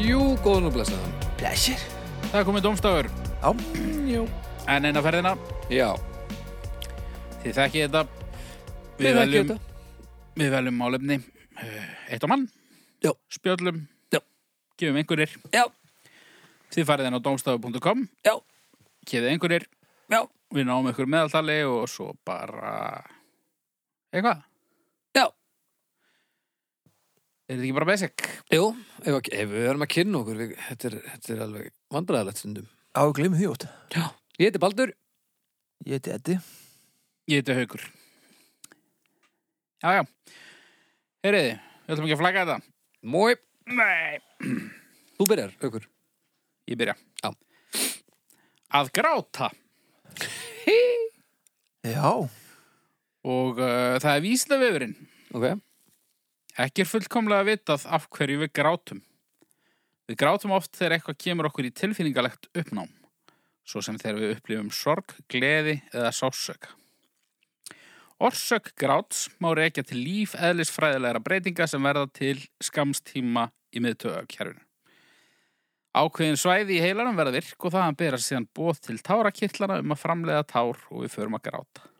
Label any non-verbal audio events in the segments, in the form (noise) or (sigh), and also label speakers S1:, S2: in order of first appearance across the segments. S1: og blessaðan. Mm,
S2: Blessir.
S3: Það er komið domstafur
S2: Já.
S1: Jú.
S3: En eina ferðina,
S1: Já.
S3: þið þekkið þetta
S1: Við þekkjum
S3: veljum-
S1: þetta.
S3: Við veljum málefni eh, Eitt á mann
S2: Já.
S3: Spjöllum
S2: Já.
S3: Gefum einhverjir
S2: Já.
S3: Þið farið inn á domstafur.com
S2: Já.
S3: Gefið einhverjir
S2: Já.
S3: Við náum ykkur meðaltali og svo bara Eitthvað
S2: Já.
S3: Er þetta ekki bara basic?
S1: Jú, ef, að- ef við erum að kynna okkur, við, þetta, er, þetta er alveg vandræðalegt stundum.
S2: Á, glimmu því ótt.
S1: Ég heiti Baldur.
S2: Ég heiti Eddi.
S3: Ég heiti Haukur. Já, já. Heyriði, við ætlum ekki að flagga þetta.
S1: Mói.
S3: Nei.
S1: Þú byrjar, aukur.
S3: Ég byrja.
S1: Já.
S3: Að gráta.
S2: Já.
S3: Og uh, það er vísindavefurinn.
S1: Ok.
S3: Ekki er fullkomlega vitað af hverju við grátum. Við grátum oft þegar eitthvað kemur okkur í tilfinningalegt uppnám. Svo sem þegar við upplifum sorg, gleði eða sásöka. Orsök gráts má reykja til líf eðlisfræðilegra breytinga sem verða til skamstíma í miðtöðakjærfinu. Ákveðin svæði í heilanum verða virk og þaðan berast síðan bóð til tárakirtlana um að framleiða tár og við förum að gráta.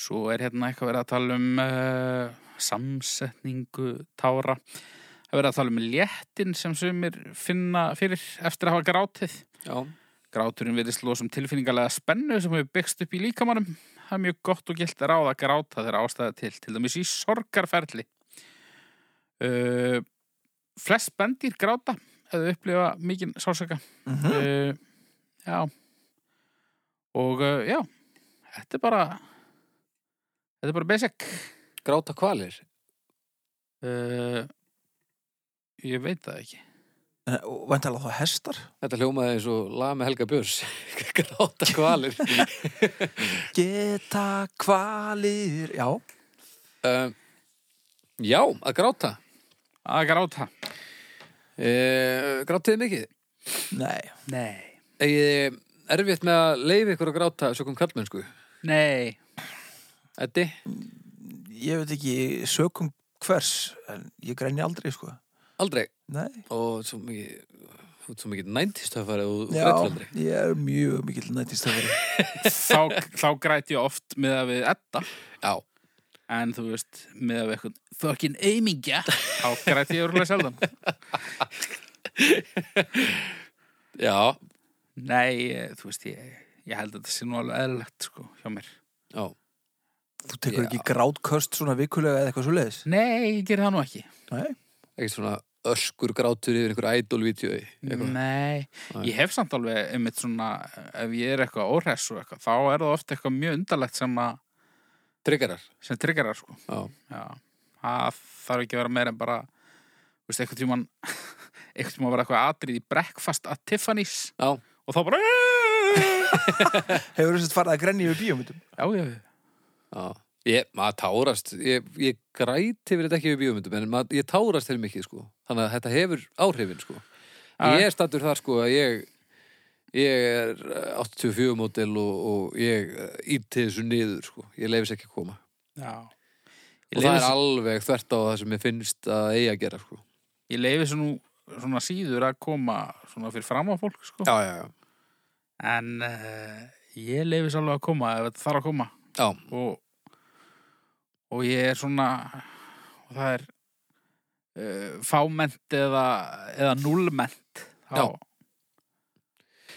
S3: Svo er hérna eitthvað verið að tala um uh, samsetningu tára. Það er verið að tala um léttin sem sumir finna fyrir eftir að hafa grátið.
S1: Já.
S3: Gráturinn virðist losum tilfinningalega spennu sem hefur byggst upp í líkamanum. Það er mjög gott og gilt að ráða að gráta þegar ástæða til, til dæmis í sorgarferli. Uh, flest bendir gráta eða upplifa mikinn sásöka.
S2: Mhm.
S3: Uh, já. Og uh, já, þetta er bara, þetta er bara basic.
S1: Gráta kvalir.
S3: Uh, ég veit það ekki.
S2: En, Og vantala þá hestar.
S1: Þetta hljómaði eins og laga með Helga Björs. (laughs) Gráta kvalir.
S2: (laughs) Geta kvalir. Já.
S1: um, já, að gráta.
S3: Að gráta.
S1: Uh, grátiði mikið.
S2: Nei.
S3: Nei.
S1: Egið erfitt með að leiði ykkur að gráta sökum kallmennsku.
S3: Nei.
S1: Eddi?
S2: Ég veit ekki sökum hvers, en ég græni aldrei, sko.
S1: Aldrei.
S2: Nei.
S1: Og svo mikið, þú ert svo mikið næntistöfari og þú
S2: Já,
S1: grætur aldrei.
S2: ég er mjög mikill nættistafari.
S3: Þá, þá græti ég oft með að við etta.
S1: Já.
S3: En þú veist, með að við eitthvað fucking aimingja. Þá græti ég örgulega sjaldan.
S1: Já.
S3: Nei, eh, þú veist, ég, ég held að þetta sé nú alveg eðlilegt, sko, hjá mér.
S1: Já.
S2: Þú tekur
S1: Já.
S2: ekki grátköst svona vikulega eða eitthvað svo leiðis?
S3: Nei, ég ger það nú ekki.
S2: Nei.
S1: Ekkert svona öskur grátur yfir einhver idol-vídeói.
S3: Mm.
S1: eitthvað.
S3: Nei,
S1: Nei.
S3: ég hef samt alveg einmitt svona, ef ég er eitthvað óhress og eitthvað, þá er það oft eitthvað mjög undarlegt sem, að-
S1: Tryggarar.
S3: sem triggerar, sko.
S1: Já.
S3: Já, það þarf ekki að vera meira en bara, þú veist, eitthvað (laughs) tíman, eitthvað tíman var eitthvað atrið í breakfast at Tiffany's
S1: Já.
S3: og (laughs) þá bara, já,
S2: Hefur þess að farið að grenja yfir bíómyndum?
S3: já,
S1: Já. Ég, maður tárast. Ég, ég græti yfir þetta ekki við bíómyndum, en maður, ég tárast þeir mikið, sko. Þannig að þetta hefur áhrifin, sko.
S3: Já.
S1: Ég er stattur þar, sko, að ég, ég er eh, 84 mótil og, og ég íti þessu niður, sko. Ég leifis ekki að koma.
S3: já.
S1: Og það er alveg þvert á það sem ég finnst að eiga að gera, sko.
S3: Ég leifi svo nú svona síður að koma svona fyrir fram á fólk, sko.
S1: Já, já, já.
S3: En uh, ég leifi svo alveg að koma ef þetta þarf að koma.
S1: Já,
S3: og, og ég er svona og það er uh, fámennt eða, eða nullmennt
S1: Já.
S3: þá,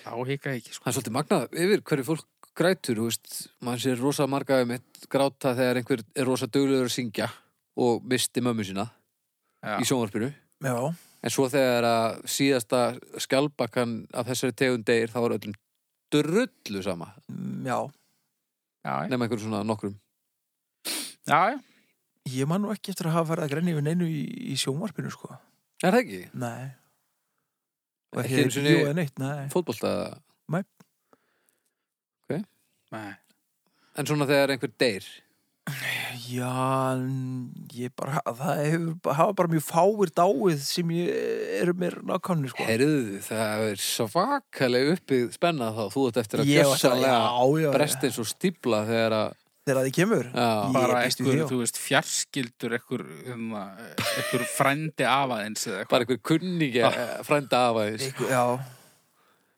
S3: þá hika ég ekki
S1: það
S3: sko.
S1: er svolítið magnað yfir hverju fólk grætur, þú veist, mann sér rosa marga um eitt gráta þegar einhver er rosa duglegur að syngja og misti mömmu sína
S3: Já.
S1: í sjónvarpinu.
S2: Já.
S1: En svo þegar að síðasta skjálpakkan af þessari tegund deyr, þá er öllum drullu sama,
S2: Mm, Já.
S3: Já, já.
S1: nema einhverjum svona nokkrum.
S3: já, já,
S2: Ég man nú ekki eftir að hafa farið að grenja yfir neinu í, í sjónvarpinu, sko.
S1: Er það ekki?
S2: Nei. Og
S1: Ekki
S2: ekki
S1: einu
S2: ekki
S1: sinni-
S2: bíó eða neitt, nei.
S1: Fótbolta.
S3: Nei.
S1: En svona þegar einhver deyr.
S2: Sko. Já, en ég bara, það hefur, hafa bara mjög fáir dáið sem ég er mér nákvæmni, sko.
S1: Herðu, það er svakalega uppið spennað þá. Þú ert eftir að
S2: Ég var það,
S1: gjössalega
S2: já, já, já.
S1: brest eins og stípla þegar að
S2: þegar þið kemur
S1: Já.
S2: Ég
S3: bara
S2: býst við
S3: ekkur,
S2: því, já.
S3: þú veist, fjarskildur ekkur, hérna, ekkur frændi afaðins eða eitthvað
S1: bara einhver eh, kunningja
S2: Ah.
S1: frænda af aðeins
S2: Ykkur- Já,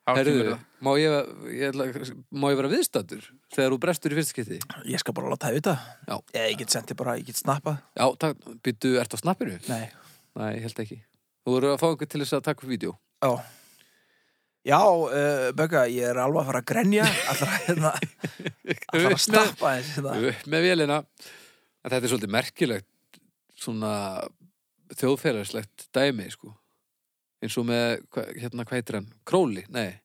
S3: Þá kemur
S1: Herðu,
S3: það.
S1: má ég, ég, ætla- má ég vera viðstattur þegar þú brestur í fyrstskipti?
S2: ég skal bara láta það auðvitað
S1: Já.
S2: Eða ég get sendið bara, ég get snappað
S1: Já, takk, býttu, ertu á snappinu?
S2: Nei,
S1: Nei, ég held ekki. Þú voru að fá einhver til þess að taka upp vídeo.
S2: já Já, uh, Bögga, ég er alveg að fara að grenja Allra
S1: (laughs)
S2: hérna Allra að snappa þess hérna.
S1: Upp með vélina. En þetta er svolítið merkilegt svona þjóðfélagslegt dæmi, sko. Eins og með, hva, hérna, hvað heitir hann? Króli? Nei.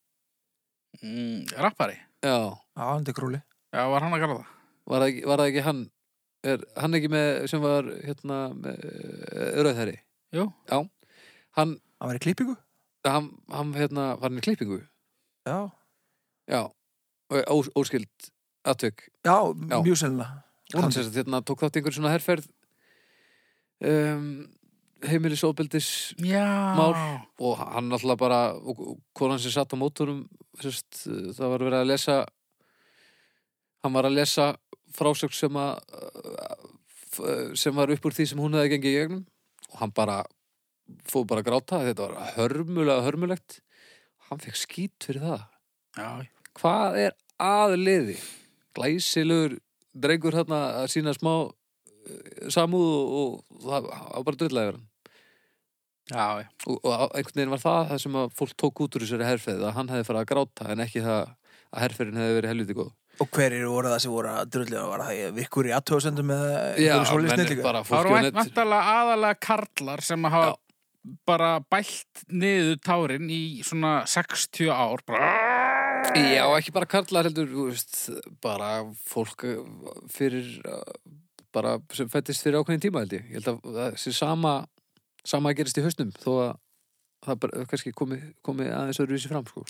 S3: Mm, rappari,
S1: Já,
S2: Já, þetta er krúli
S3: já, var hann að gera það
S1: var það ekki, var það ekki hann? Er hann ekki með, sem var, hérna, með, öðröðherri?
S3: Jú.
S1: Já. Hann,
S2: Hann var í klippingu
S1: hann, hann, hérna, var hann í klippingu?
S2: Já,
S1: Já. Ó- Ós, óskild atvök
S2: já, mjög sennilega
S1: hann
S2: Vonandi.
S1: sérst hérna tók þátt í einhverjum svona herrferð um, heimilisóbeldis
S3: já,
S1: Már. og hann alltaf bara og og konan sem satt á mótorum sérst, uh, það var verið að lesa hann var að lesa frásögn sem að uh, f- uh, sem var upp úr því sem hún hefði gengið í gegnum og hann bara fóð bara að gráta þetta var hörmulega hörmulegt hann fekk skít fyrir það
S3: já,
S1: hvað er að liði glæsilegur drengur hérna að sína smá uh, samúð og, og það var bara drullega yfir hann
S3: já, já
S1: og, og á- einhvern veginn var það það sem að fólk tók út úr þessari herfið að hann hefði farið að gráta en ekki það að herfiðin hefði verið helviti góð
S2: Og hverjir voru það sem voru að drullið Var það virkur í aðtöðsendum með
S1: Já, menn er
S2: menn
S1: bara
S3: Það
S1: fólki á
S3: eru
S1: net
S3: vantalega aðalega karlar sem hafa
S1: Já.
S3: bara bælt niður tárin í svona 60 ár bara...
S1: Já, ekki bara karlar heldur þú veist, bara fólk uh, fyrir uh, bara sem fættist fyrir ákveðin tíma held ég ég held að það sé sama sama að gerist í hausnum þó að það bara, kannski komi, komi aðeins öðruvísi fram sko.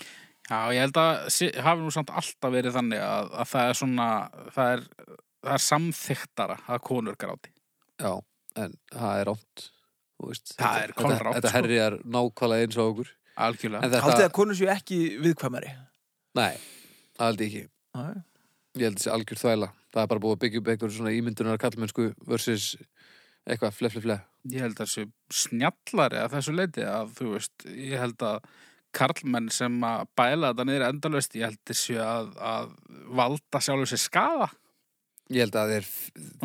S3: Já, ég held að sé- hafi nú samt alltaf verið þannig að, að það er svona það er, það er samþyktara að konur gráti
S1: Já, en það er rámt þú veist,
S3: Það
S1: þetta-
S3: er kolrangt,
S1: Þetta, þetta
S3: sko.
S1: herjar nákvæmlega eins og okkur
S3: algjörlega
S1: En þetta,
S2: Haldið að konur séu ekki viðkvæmari
S1: nei, það held ég ekki
S2: Nei.
S1: Ég held þessi algjör þvæla Það er bara búið að byggja upp einhverjum svona ímyndunar kallmennsku versus eitthvað fle, fle, fle
S3: Ég held að þessu snjallari að þessu leiti að þú veist, ég held að karlmenn sem að bæla þetta niður endalaust, ég held þessu að, að valda sjálfur sér skaða
S1: Ég held að þeir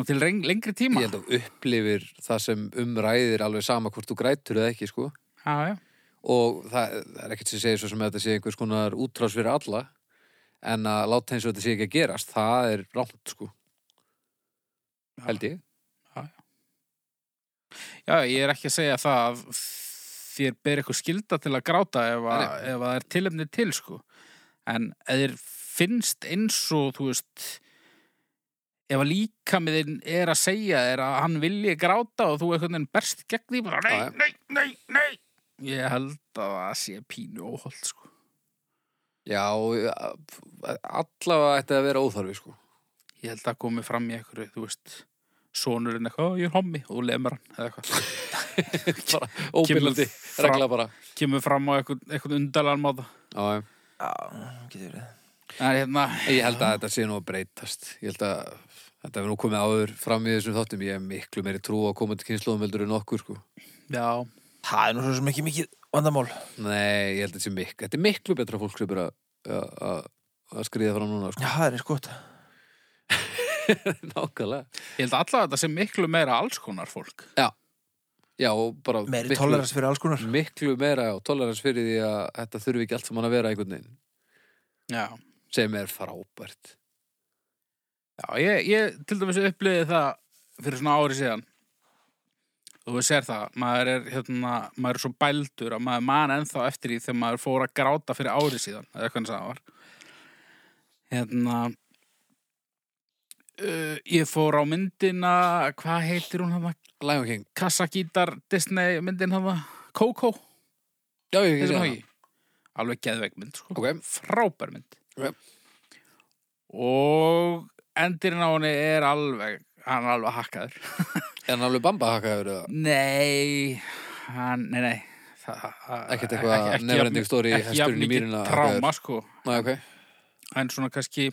S3: og til reng, lengri
S1: ég
S3: tíma
S1: held að þú upplifir það sem umræðir alveg sama hvort þú grætur eða ekki sko.
S3: Já, já,
S1: og það, það er ekkert sem segir svo sem að þetta sé einhvers konar útrás fyrir alla en að láta eins og þetta sé ekki að gerast það er rámt sko held ég
S3: Já, ég er ekki að segja það að þér ber eitthvað skilda til að gráta ef, að,
S1: Nei,
S3: ef að það er tilefni til, sko. En ef þér finnst eins og, þú veist, ef að líka með þinn er að segja þér að hann vilji gráta og þú einhvern veginn berst gegn því, bara
S1: Já, já.
S3: nei, nei, nei, nei. Ég held að það sé pínu óholt, sko.
S1: Já, allavega ætti að vera óþarfi sko
S3: Ég held að komi fram í einhverju, þú veist, sonurinn eitthvað, "Ó, ég er hommi og þú lemur hann eða eitthvað.
S1: bara óbyrlandi
S3: fram-
S1: regla bara
S3: Kemur fram á einhvern, einhvern undalan máta.
S1: Já, já.
S2: Já, getur verið
S3: En hérna,
S1: ég held að þetta sé nú að breytast ég held að þetta hefur nú komið áður fram í þessum þáttum ég hef miklu meiri trú á komandi kynnslóðum heldur en okkur sko
S3: já,
S2: Það er nú svo sem ekki mikið vandamál
S1: Nei, ég held að þetta sé miklu, þetta er miklu betra fólk sem er að- að að- að skriða fram núna sko.
S2: Já, það er eins gott
S1: Nákvæmlega
S3: Ég held alltaf að þetta sé miklu meira alls konar fólk.
S1: Já, og bara
S2: Meiri
S1: miklu-
S2: tolerans fyrir alls konar
S1: Miklu meira og tolerans fyrir því að þetta þurfi ekki allt saman að vera einhvern veginn
S3: Já.
S1: sem er frábært
S3: Já, ég, ég til dæmis upplýði það fyrir svona ári síðan. Og þú sér það, maður er, hérna, maður er svo bældur að maður man ennþá eftir því þegar maður fór að gráta fyrir ári síðan, eða hvernig það var. Hérna, uh, ég fór á myndina, hvað heitir hún hann?
S1: Lion King,
S3: Kassagítar Disney myndin hann? Coco,
S1: já, ég hef
S3: þessum
S1: ekki
S3: ekki. Alveg geðveik mynd, sko.
S1: Ok,
S3: frábær mynd
S1: Já.
S3: og endirinn á henni er alveg hann er alveg hakkaður
S1: en alveg bamba haka hefur það
S3: nei, hann, nei, nei það- það-
S1: Ekkert eitthvað
S3: ekki- ekki
S1: never ending
S3: jafn-
S1: story,
S3: ekki
S1: hesturinn
S3: jafn
S1: í
S3: mikið
S1: mýrinni,
S3: tráma sko
S1: Nei, ok
S3: en svona kannski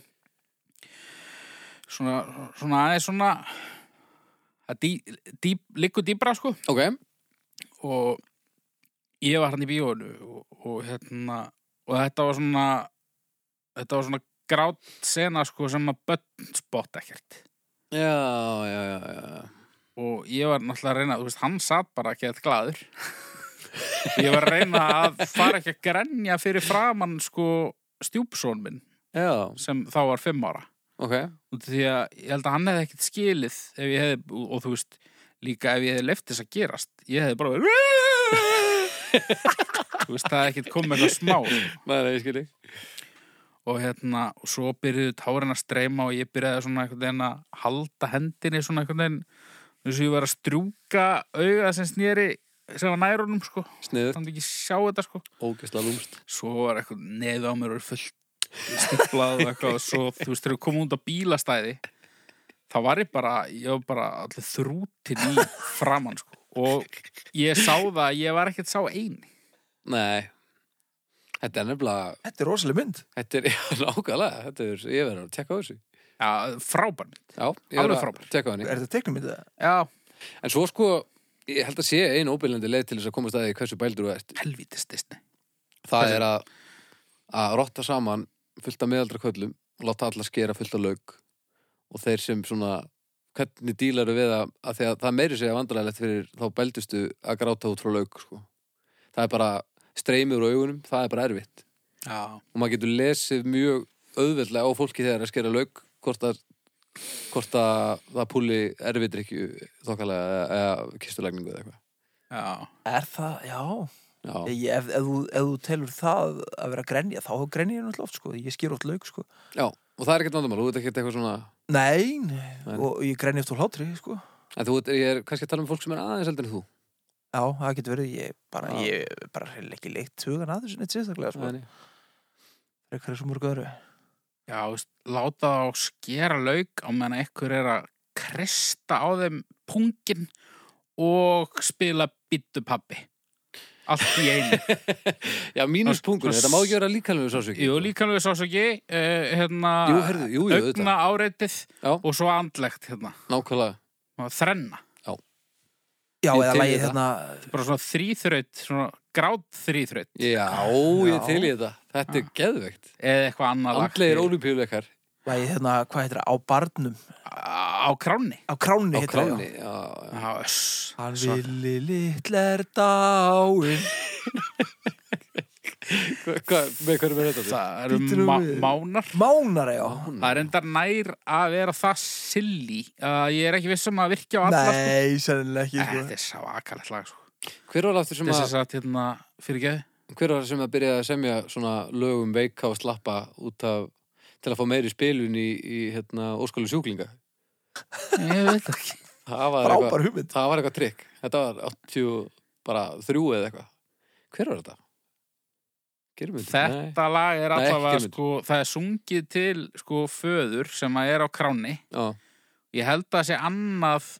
S3: svona, svona aðeins svona að dý, dý, liggur dýbra sko
S1: Ok,
S3: og ég var hann í bíónu og, og hérna og þetta var svona þetta var svona grátt sena sko sem að börn spott ekkert
S1: já, já, já, já.
S3: og ég var náttúrulega að reyna þú veist, hann satt bara ekki eitthvað glaður ég var að reyna að fara ekki að grenja fyrir framann sko stjúpsón minn
S1: Já,
S3: sem þá var fimm ára
S1: ok,
S3: Út af því að ég held að hann hefði ekkert skilið ef ég hefði, og, og þú veist líka ef ég hefði leift þess að gerast ég hefði bara (laughs) þú veist, það hefði ekkert komið eitthvað smá sko.
S1: maður er skilji
S3: og hérna, og svo byrjuðu tárin að streyma og ég byrjaði svona einhvern veginn að halda hendinni svona einhvern veginn þess að ég var að strjúka auga sem snýri sem var nærunum sko
S1: Sniður,
S3: þannig ekki sjá þetta sko
S1: ógisla lúmst
S3: svo var eitthvað neðu á mér og fullt stiflað og eitthvað og svo þú veist, þegar við komum út á bílastæði þá var ég bara, ég var bara allir þrútin í framann sko. og ég sá það að ég var ekkert sá eini
S1: Nei Þetta er nefnilega,
S2: Þetta er rosaleg mynd
S1: þetta er (laughs) já, nákvæmlega, þetta er, ég verður að tekka á þessu.
S3: ja, frábær mynd
S1: Já, ég verður
S3: Alveg
S1: að
S3: frábær.
S1: tekka á henni.
S2: Er þetta teiknumynd eða?
S3: já,
S1: En svo sko, ég held að sé einu óbyrlandi leið til þess að komast að því hversu bældur þú ert.
S3: helvítist Disney
S1: Það
S3: Hversu?
S1: er að, að rotta saman fullt af miðaldra köllum og láta alla skera fullt af lauk og þeir sem svona, hvernig dílaru við að, að því að það meiri segja vandræðilegt fyrir þá bældustu að gráta út frá lauk sko. Það er bara streymur á augunum, það er bara erfitt.
S3: já,
S1: og maður getur lesið mjög auðveldlega á fólki þegar það er að skera lauk hvort að, hvort að það púli erfidrykju þokkalega eða, eða kistulagningu eða eitthvað.
S3: já
S2: Er það, já
S1: Já,
S2: ég, ef, ef, þú, ef þú telur það að vera að grenja þá grenja ég náttúrulega oft sko Ég skýr oft lauk sko
S1: já, og það er ekkert vandamál, þú veit ekkert eitthvað svona
S2: Nei, nei.
S1: Nei.
S2: og ég grenja oft úr hlátri sko
S1: en þú veit, ég er kannski að tala um fólk sem er aðeins heldur en þú.
S2: Já, það getur verið, ég bara,
S1: Já.
S2: ég bara hreinlega ekki leitt hugan að þessu neitt sérstaklega sko.
S1: Nei, nei.
S2: Rekar er svo mörg öðru
S3: Já, þú veist, láta þá skera lauk á meðan ekkur er að kresta á þeim pungin og spila bittu pappi. Allt í einu.
S1: Já, mínuspunktur,
S3: Svona-
S1: þetta má ekki vera líkanlega sásöki.
S3: Jú, líkanlega sásöki, uh, hérna,
S1: Jú, herðu, jú, jú,
S3: augna
S1: auðvitað.
S3: áreitið
S1: Já.
S3: og svo andlegt, hérna,
S1: Nákvæmlega.
S3: og þrenna.
S2: Já,
S1: Ég
S2: eða
S1: til í
S2: lagið
S1: þetta.
S2: hérna
S3: Bara svona þrýþraut, svona gráð þrýþraut,
S1: Já, ég
S2: Já.
S1: til í þetta. Þetta er geðveikt.
S3: eða eitthvað annað lag
S1: Andlegir
S3: fyrir-
S1: ólimpíuleikar
S2: Lagið hérna, hvað heitir það, á barnum
S3: Á kráni.
S2: Á kráni
S1: á
S2: heitir það, já.
S1: kráni. Já, já.
S3: Já, öss.
S2: Hann
S3: Svo-
S2: villi litler dáin
S1: Hva, hva, með hverjum er þetta?
S3: Það eru
S2: Bíddu nú
S3: má-
S2: við.
S3: mánar.
S2: Mánara, já
S3: Það er endar nær að vera það silly að ég er ekki viss um að virkja á alla sko.
S2: Nei, sennilega
S3: Eh,
S2: ekki
S3: Þetta
S2: sko.
S3: er svakalegt lag sko.
S1: Hver var aftur sem
S3: Þess
S1: að...
S3: að sagt hérna fyrir geði
S1: Hver var það sem að byrja að semja svona lögum veika og slappa út af til að fá meiri spilun í, í hérna, óskalu sjúklinga?
S3: Ég veit það ekki
S1: Það var
S2: Frábær
S1: eitthvað,
S2: hugmynd
S1: það var eitthvað trikk. Þetta var 83 eða eitthvað. Hver var þetta? Geirmundur? Nei.
S3: Þetta lag er
S1: Nei, ekki
S3: allavega
S1: mynd.
S3: sko, það er sungið til sko föður sem að er á kráni
S1: Já,
S3: Ég held að það sé annað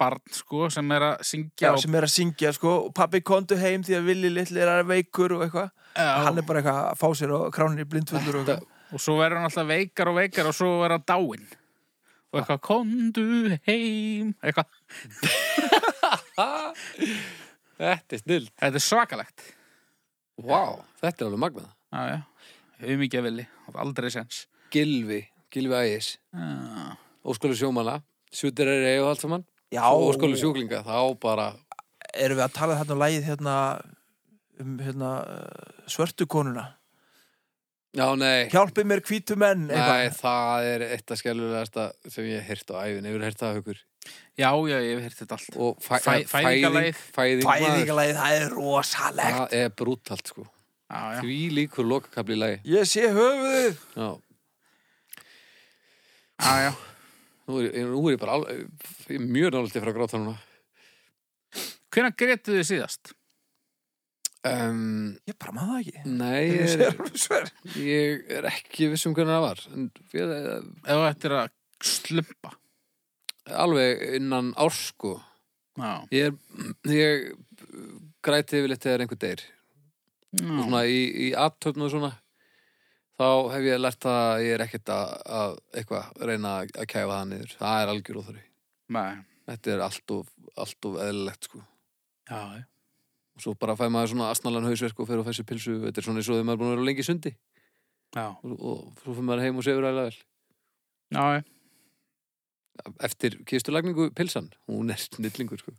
S3: barn sko sem er að
S2: Já,
S3: syngja
S2: sem er að syngja, sko og Pabbi kontu heim því að villi litler er veikur og eitthvað
S3: á,
S2: Hann er bara eitthvað að fá sér og kránin er blindfullur og
S1: Þetta-
S2: eitthvað
S3: og svo verður hann alltaf veikar og veikar og svo er hann dáinn og eitthvað kondu heim eitthvað.
S1: þetta er snill.
S3: Þetta er svakalegt
S1: Vá, þetta er alveg magnað.
S3: Já, já, umíkja villi, aldrei sens
S1: Gilvi, Gilvi Ægis,
S3: Já,
S1: óskalu sjúmana, sjútir er eigi og allt saman.
S2: Já,
S1: Svo óskalu sjúklinga, þá bara...
S2: erum við að tala þarna um lagið hérna um hérna uh, svörtu konuna
S1: Já, nei.
S2: Hjálpi mér hvítu menn eitthvað.
S1: Nei, það er eitt af skellulegasta sem ég hef heyrt á æfin, hefur heyrt það haukur
S3: já, já, ég hef heyrt þetta allt
S1: og fæ,
S3: Fæ- fæðingarlagið.
S1: fæðing, fæðing maður,
S2: Fæðingalagið, það er rosalegt
S1: það er brútalt sko
S3: Já, já.
S1: því líkur lokakabli í lagi
S2: Ég sé höfuðið
S1: Já,
S3: Já, já.
S1: nú er, ég- nú er ég bara al, ég er mjög nálætti frá að gráta núna
S3: Hvenær gretu þið síðast?
S1: um,
S2: Ég bara maður það ekki
S1: Nei,
S2: Ég
S1: ég
S2: sé
S1: er,
S2: alveg sver.
S1: ég er ekki viss um hvernig það var en ég, eh,
S3: Ef þú ættir að slumpa.
S1: alveg innan árs sko
S3: Já.
S1: ég, er- ég græti yfirleitt þegar einhver deyr
S3: Já.
S1: svona í, í aðtöfnu og svona þá hef ég lært það að ég er ekkert að, að eitthvað reyna að kæfa það niður. Það er algjör óþari.
S3: Nei.
S1: Þetta er allt of, allt of eðlilegt, sko.
S3: Já,
S1: Og svo bara fæ maður svona asnalan hausverk og fer og fær sér pilsu. Þetta er svona eins og þegar maður er búin að vera lengi í sundi.
S3: já.
S1: Og, og svo fyrir maður heim og sefur ægilega vel.
S3: Já, já.
S1: Eftir kistulagningu pilsan, hún er snillingur, sko.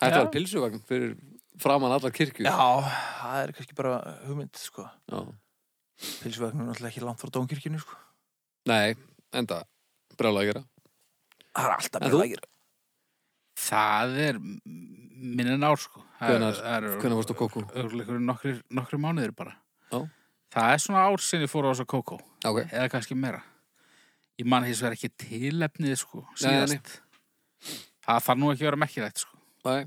S1: Þetta
S3: Já.
S1: var pilsuvagn fyrir framan allar kirkju.
S2: Já, það er kannski bara hugmynd, sko.
S1: Já.
S2: Pilsvagn er náttúrulega ekki langt frá dónkirkjunni, sko.
S1: Nei, enda, brjálega að gera.
S2: Það er alltaf
S1: En
S2: mjög
S1: þú?
S2: lægir.
S3: Það er minna en ár sko Það
S1: Hvenær-
S3: er- það er-
S1: Hvernig varst á kókó?
S3: Örleikur nokkri, nokkri mánuðir bara
S1: Já.
S3: Það er svona ár sinni fór á þess að kókó
S1: Ok,
S3: Eða kannski meira Ég man hins vegar ekki tilefnið sko Síðast
S1: Nei,
S3: Það þarf nú ekki að vera mekkilegt sko
S1: Nei.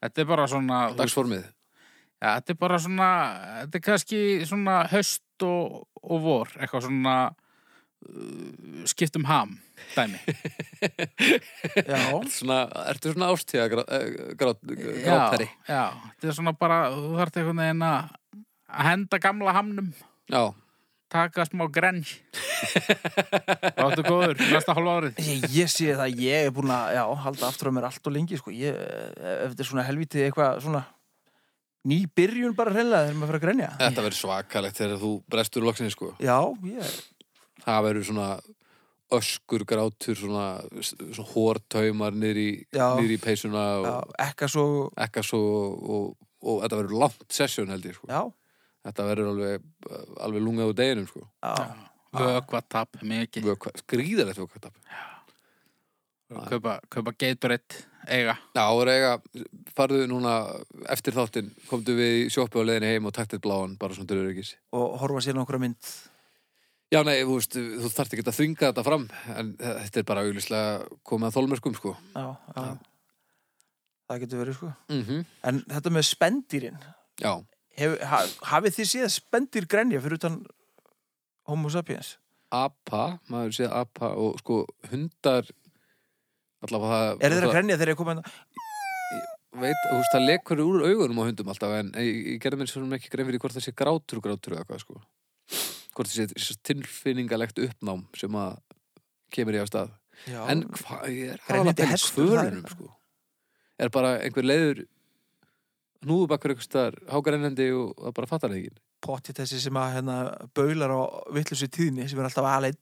S3: Þetta er bara svona þú veist,
S1: dagsformið.
S3: ja, Þetta er bara svona Þetta er kannski svona höst og, og vor Eitthvað svona uh, Skipt um ham Dæmi
S2: Já.
S1: Svona, ertu svona ástíða
S3: Já,
S1: grátari?
S3: já, þetta er svona bara, þú þarft einhvern veginn að að henda gamla hamnum,
S1: Já,
S3: taka smá
S1: (laughs)
S3: grenj. Ráttu góður, næsta hálfa árið.
S2: Ég, ég sé það, ég er búin að já, halda aftur á mér allt og lengi sko. ég, ef þetta er svona helvítið eitthvað svona ný byrjun bara hreinlega þegar maður fyrir að grenja
S1: þetta verður svakalegt þegar þú brestur loksinni sko.
S2: Já, ég,
S1: Það verður svona öskur grátur, svona, svona hórtaumar niður í,
S2: Já.
S1: niður í peysuna
S2: já,
S1: og
S2: ekka svo
S1: ekka svo og, og, og þetta verður langt sesjón held ég sko.
S2: Já,
S1: Þetta verður alveg, alveg lungað úr deginum sko.
S2: já,
S3: Vökvatap, mikið.
S1: Vökva- Gríðarlegt vökkatap.
S3: Kaupa, kaupa Gatorade, eiga.
S1: Já, og reyga, farðu núna eftir þáttinn, komdu við í sjoppu á leiðinni heim og taktið bláan, bara svona dörur ekkis.
S2: og horfa sér nokkra mynd
S1: Já, nei, þú veist, þú þarft ekki að þvinga þetta fram, en þetta er bara auglýslega komið að þólmerkum, sko.
S2: Já, já Það getur verið sko
S1: Mm
S2: En þetta með spendýrin
S1: Já,
S2: hef, ha, Hafið þið séð spendýr grenja fyrir utan homo sapiens?
S1: apa, maður séð apa og sko hundar, allavega það...
S2: Er þeir að
S1: það-
S2: grenja þegar ég koma hérna?
S1: Veit, þú veist, það lekur úr augunum á hundum alltaf, en ég, ég gerði mér svona ekki grein fyrir hvort það sé grátur, grátur eða hvað, sko. Hvort það sé- sé tilfinningalegt uppnám sem að kemur í af stað.
S2: Já,
S1: En hvað, ég er aðalega
S2: Grænmeti
S1: í
S2: hestur, það er-
S1: kvörunum, sko. Er bara einhver leiður hnúðubakkur einhvers staðar hágrænandi og það bara fattar það ekki.
S2: pottið þessi sem að hérna, baular á vittlusi tíðni sem er alltaf aðlein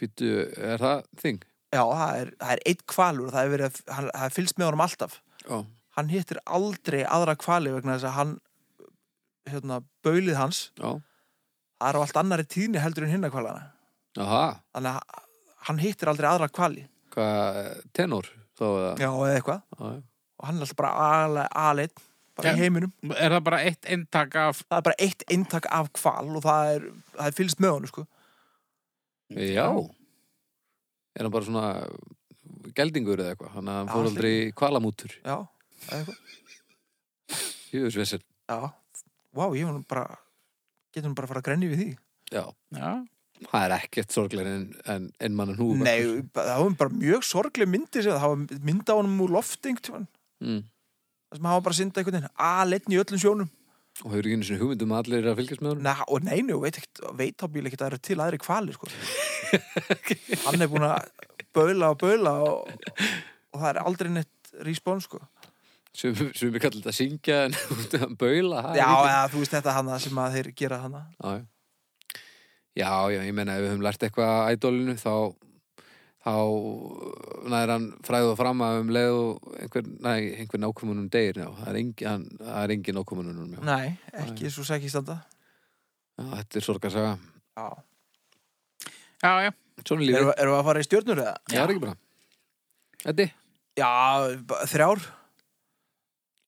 S1: Býtu, er það þing?
S2: Já, það er, það er eitt kvalur það er, verið, að- hann, það er fylst með honum alltaf
S1: Já.
S2: hann hittir aldrei aðra kvali vegna þess að hann hérna, baulið hans,
S1: Já.
S2: það er á allt annari tíðni heldur en hinna kvalana
S1: Aha,
S2: þannig að hann hittir aldrei aðra kvali
S1: hvað, tenor þá eða?
S2: Já, eða eitthvað
S1: Já. já.
S2: og hann er alltaf bara aðlein bara
S3: Já.
S2: í heiminum,
S3: Er það bara eitt eintak af...
S2: það er bara eitt eintak af kval og það er, það er fylst með honum sko.
S1: Já. Er hann bara svona geldingur eða eitthvað? Þannig að hann fór
S2: Já,
S1: aldrei í kvalamútur.
S2: Já, eða eitthvað
S1: Jöfusvessin.
S2: Já, vá, ég var nú bara getur hann bara að fara að grenni við því
S1: Já.
S3: Já.
S1: Það er ekkert sorgleir en, en, en mann hnúðubakkur.
S2: Nei, það var bara mjög sorgleg myndi sem það var mynd á honum úr lofting tjúan,
S1: Mm.
S2: það sem hafa bara syndað einhvern veginn aðleitn í öllum sjónum
S1: Og hefur ekki einu sinni hugmyndum að allir eru að fylgjast með honum?
S2: Na, og neinu, veit, ekkit, veit þá bíl ekkert að það eru til aðri kvali sko.
S1: (laughs)
S2: hann er búin að baula og baula og, og það er aldrei neitt respons sko.
S1: Sem, sem við kallum þetta að syngja en (laughs) út að baula. það er
S2: já,
S1: líka-
S2: eða, þú veist þetta hana sem að þeir gera hana
S1: Já, já. já, já, ég meina ef við höfum lært eitthvað að ædólinu þá þá næður hann fræðuð fram að um leið og einhver, næ, einhver nákomunum deyr já, það er engin, hann, það er engin nákomunum já.
S2: nei, ekki svo sæk í standa
S1: Já, þetta er sorgarsaga
S2: já.
S3: Já, já.
S1: Svona lífið,
S2: erum við erum við að fara í stjórnur eða?
S1: það er ekki bara Eddi,
S2: já, bara þrjár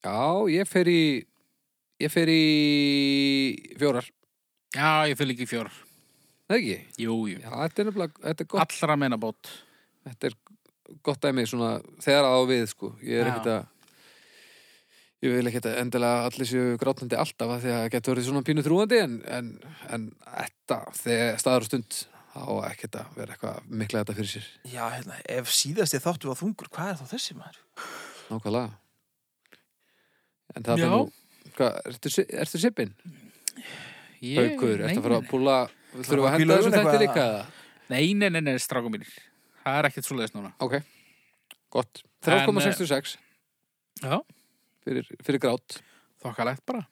S1: já, ég fer í ég fer í fjórar,
S3: Já, ég fylg ekki fjór.
S1: það ekki?
S3: Jú, jú.
S1: Já, þetta er nefnilega, þetta er gott
S3: Allra meina bót.
S1: þetta er gott dæmi svona þegar á við sko, ég er
S3: Já.
S1: ekkert að ég vil ekkert að endilega allir séu grátandi alltaf af því að það getur verið svona pínu þrúandi en, en, en þetta, þegar staðar og stund þá ekkert að vera eitthvað mikla þetta fyrir sér,
S2: já, hérna, ef síðast ég þáttu að þungur hvað er þá þessi maður?
S1: nákvæmlega en það
S3: Já.
S1: er nú hvað, ertu, si- ertu sippin?
S3: Ég-
S1: Haukur,
S3: nei,
S1: ertu að fara
S3: nei,
S1: að púla Þurfum við að
S2: að
S1: henda
S2: píla
S1: þessum
S2: augun
S1: þætti
S2: eitthvað?
S1: líka eða?
S3: Nei, nei, nei, nei, strákum mínir. Það er ekkert svoleiðis núna.
S1: Ok, gott 3,66
S3: Já.
S1: fyrir, fyrir grát
S3: Þokkalegt bara.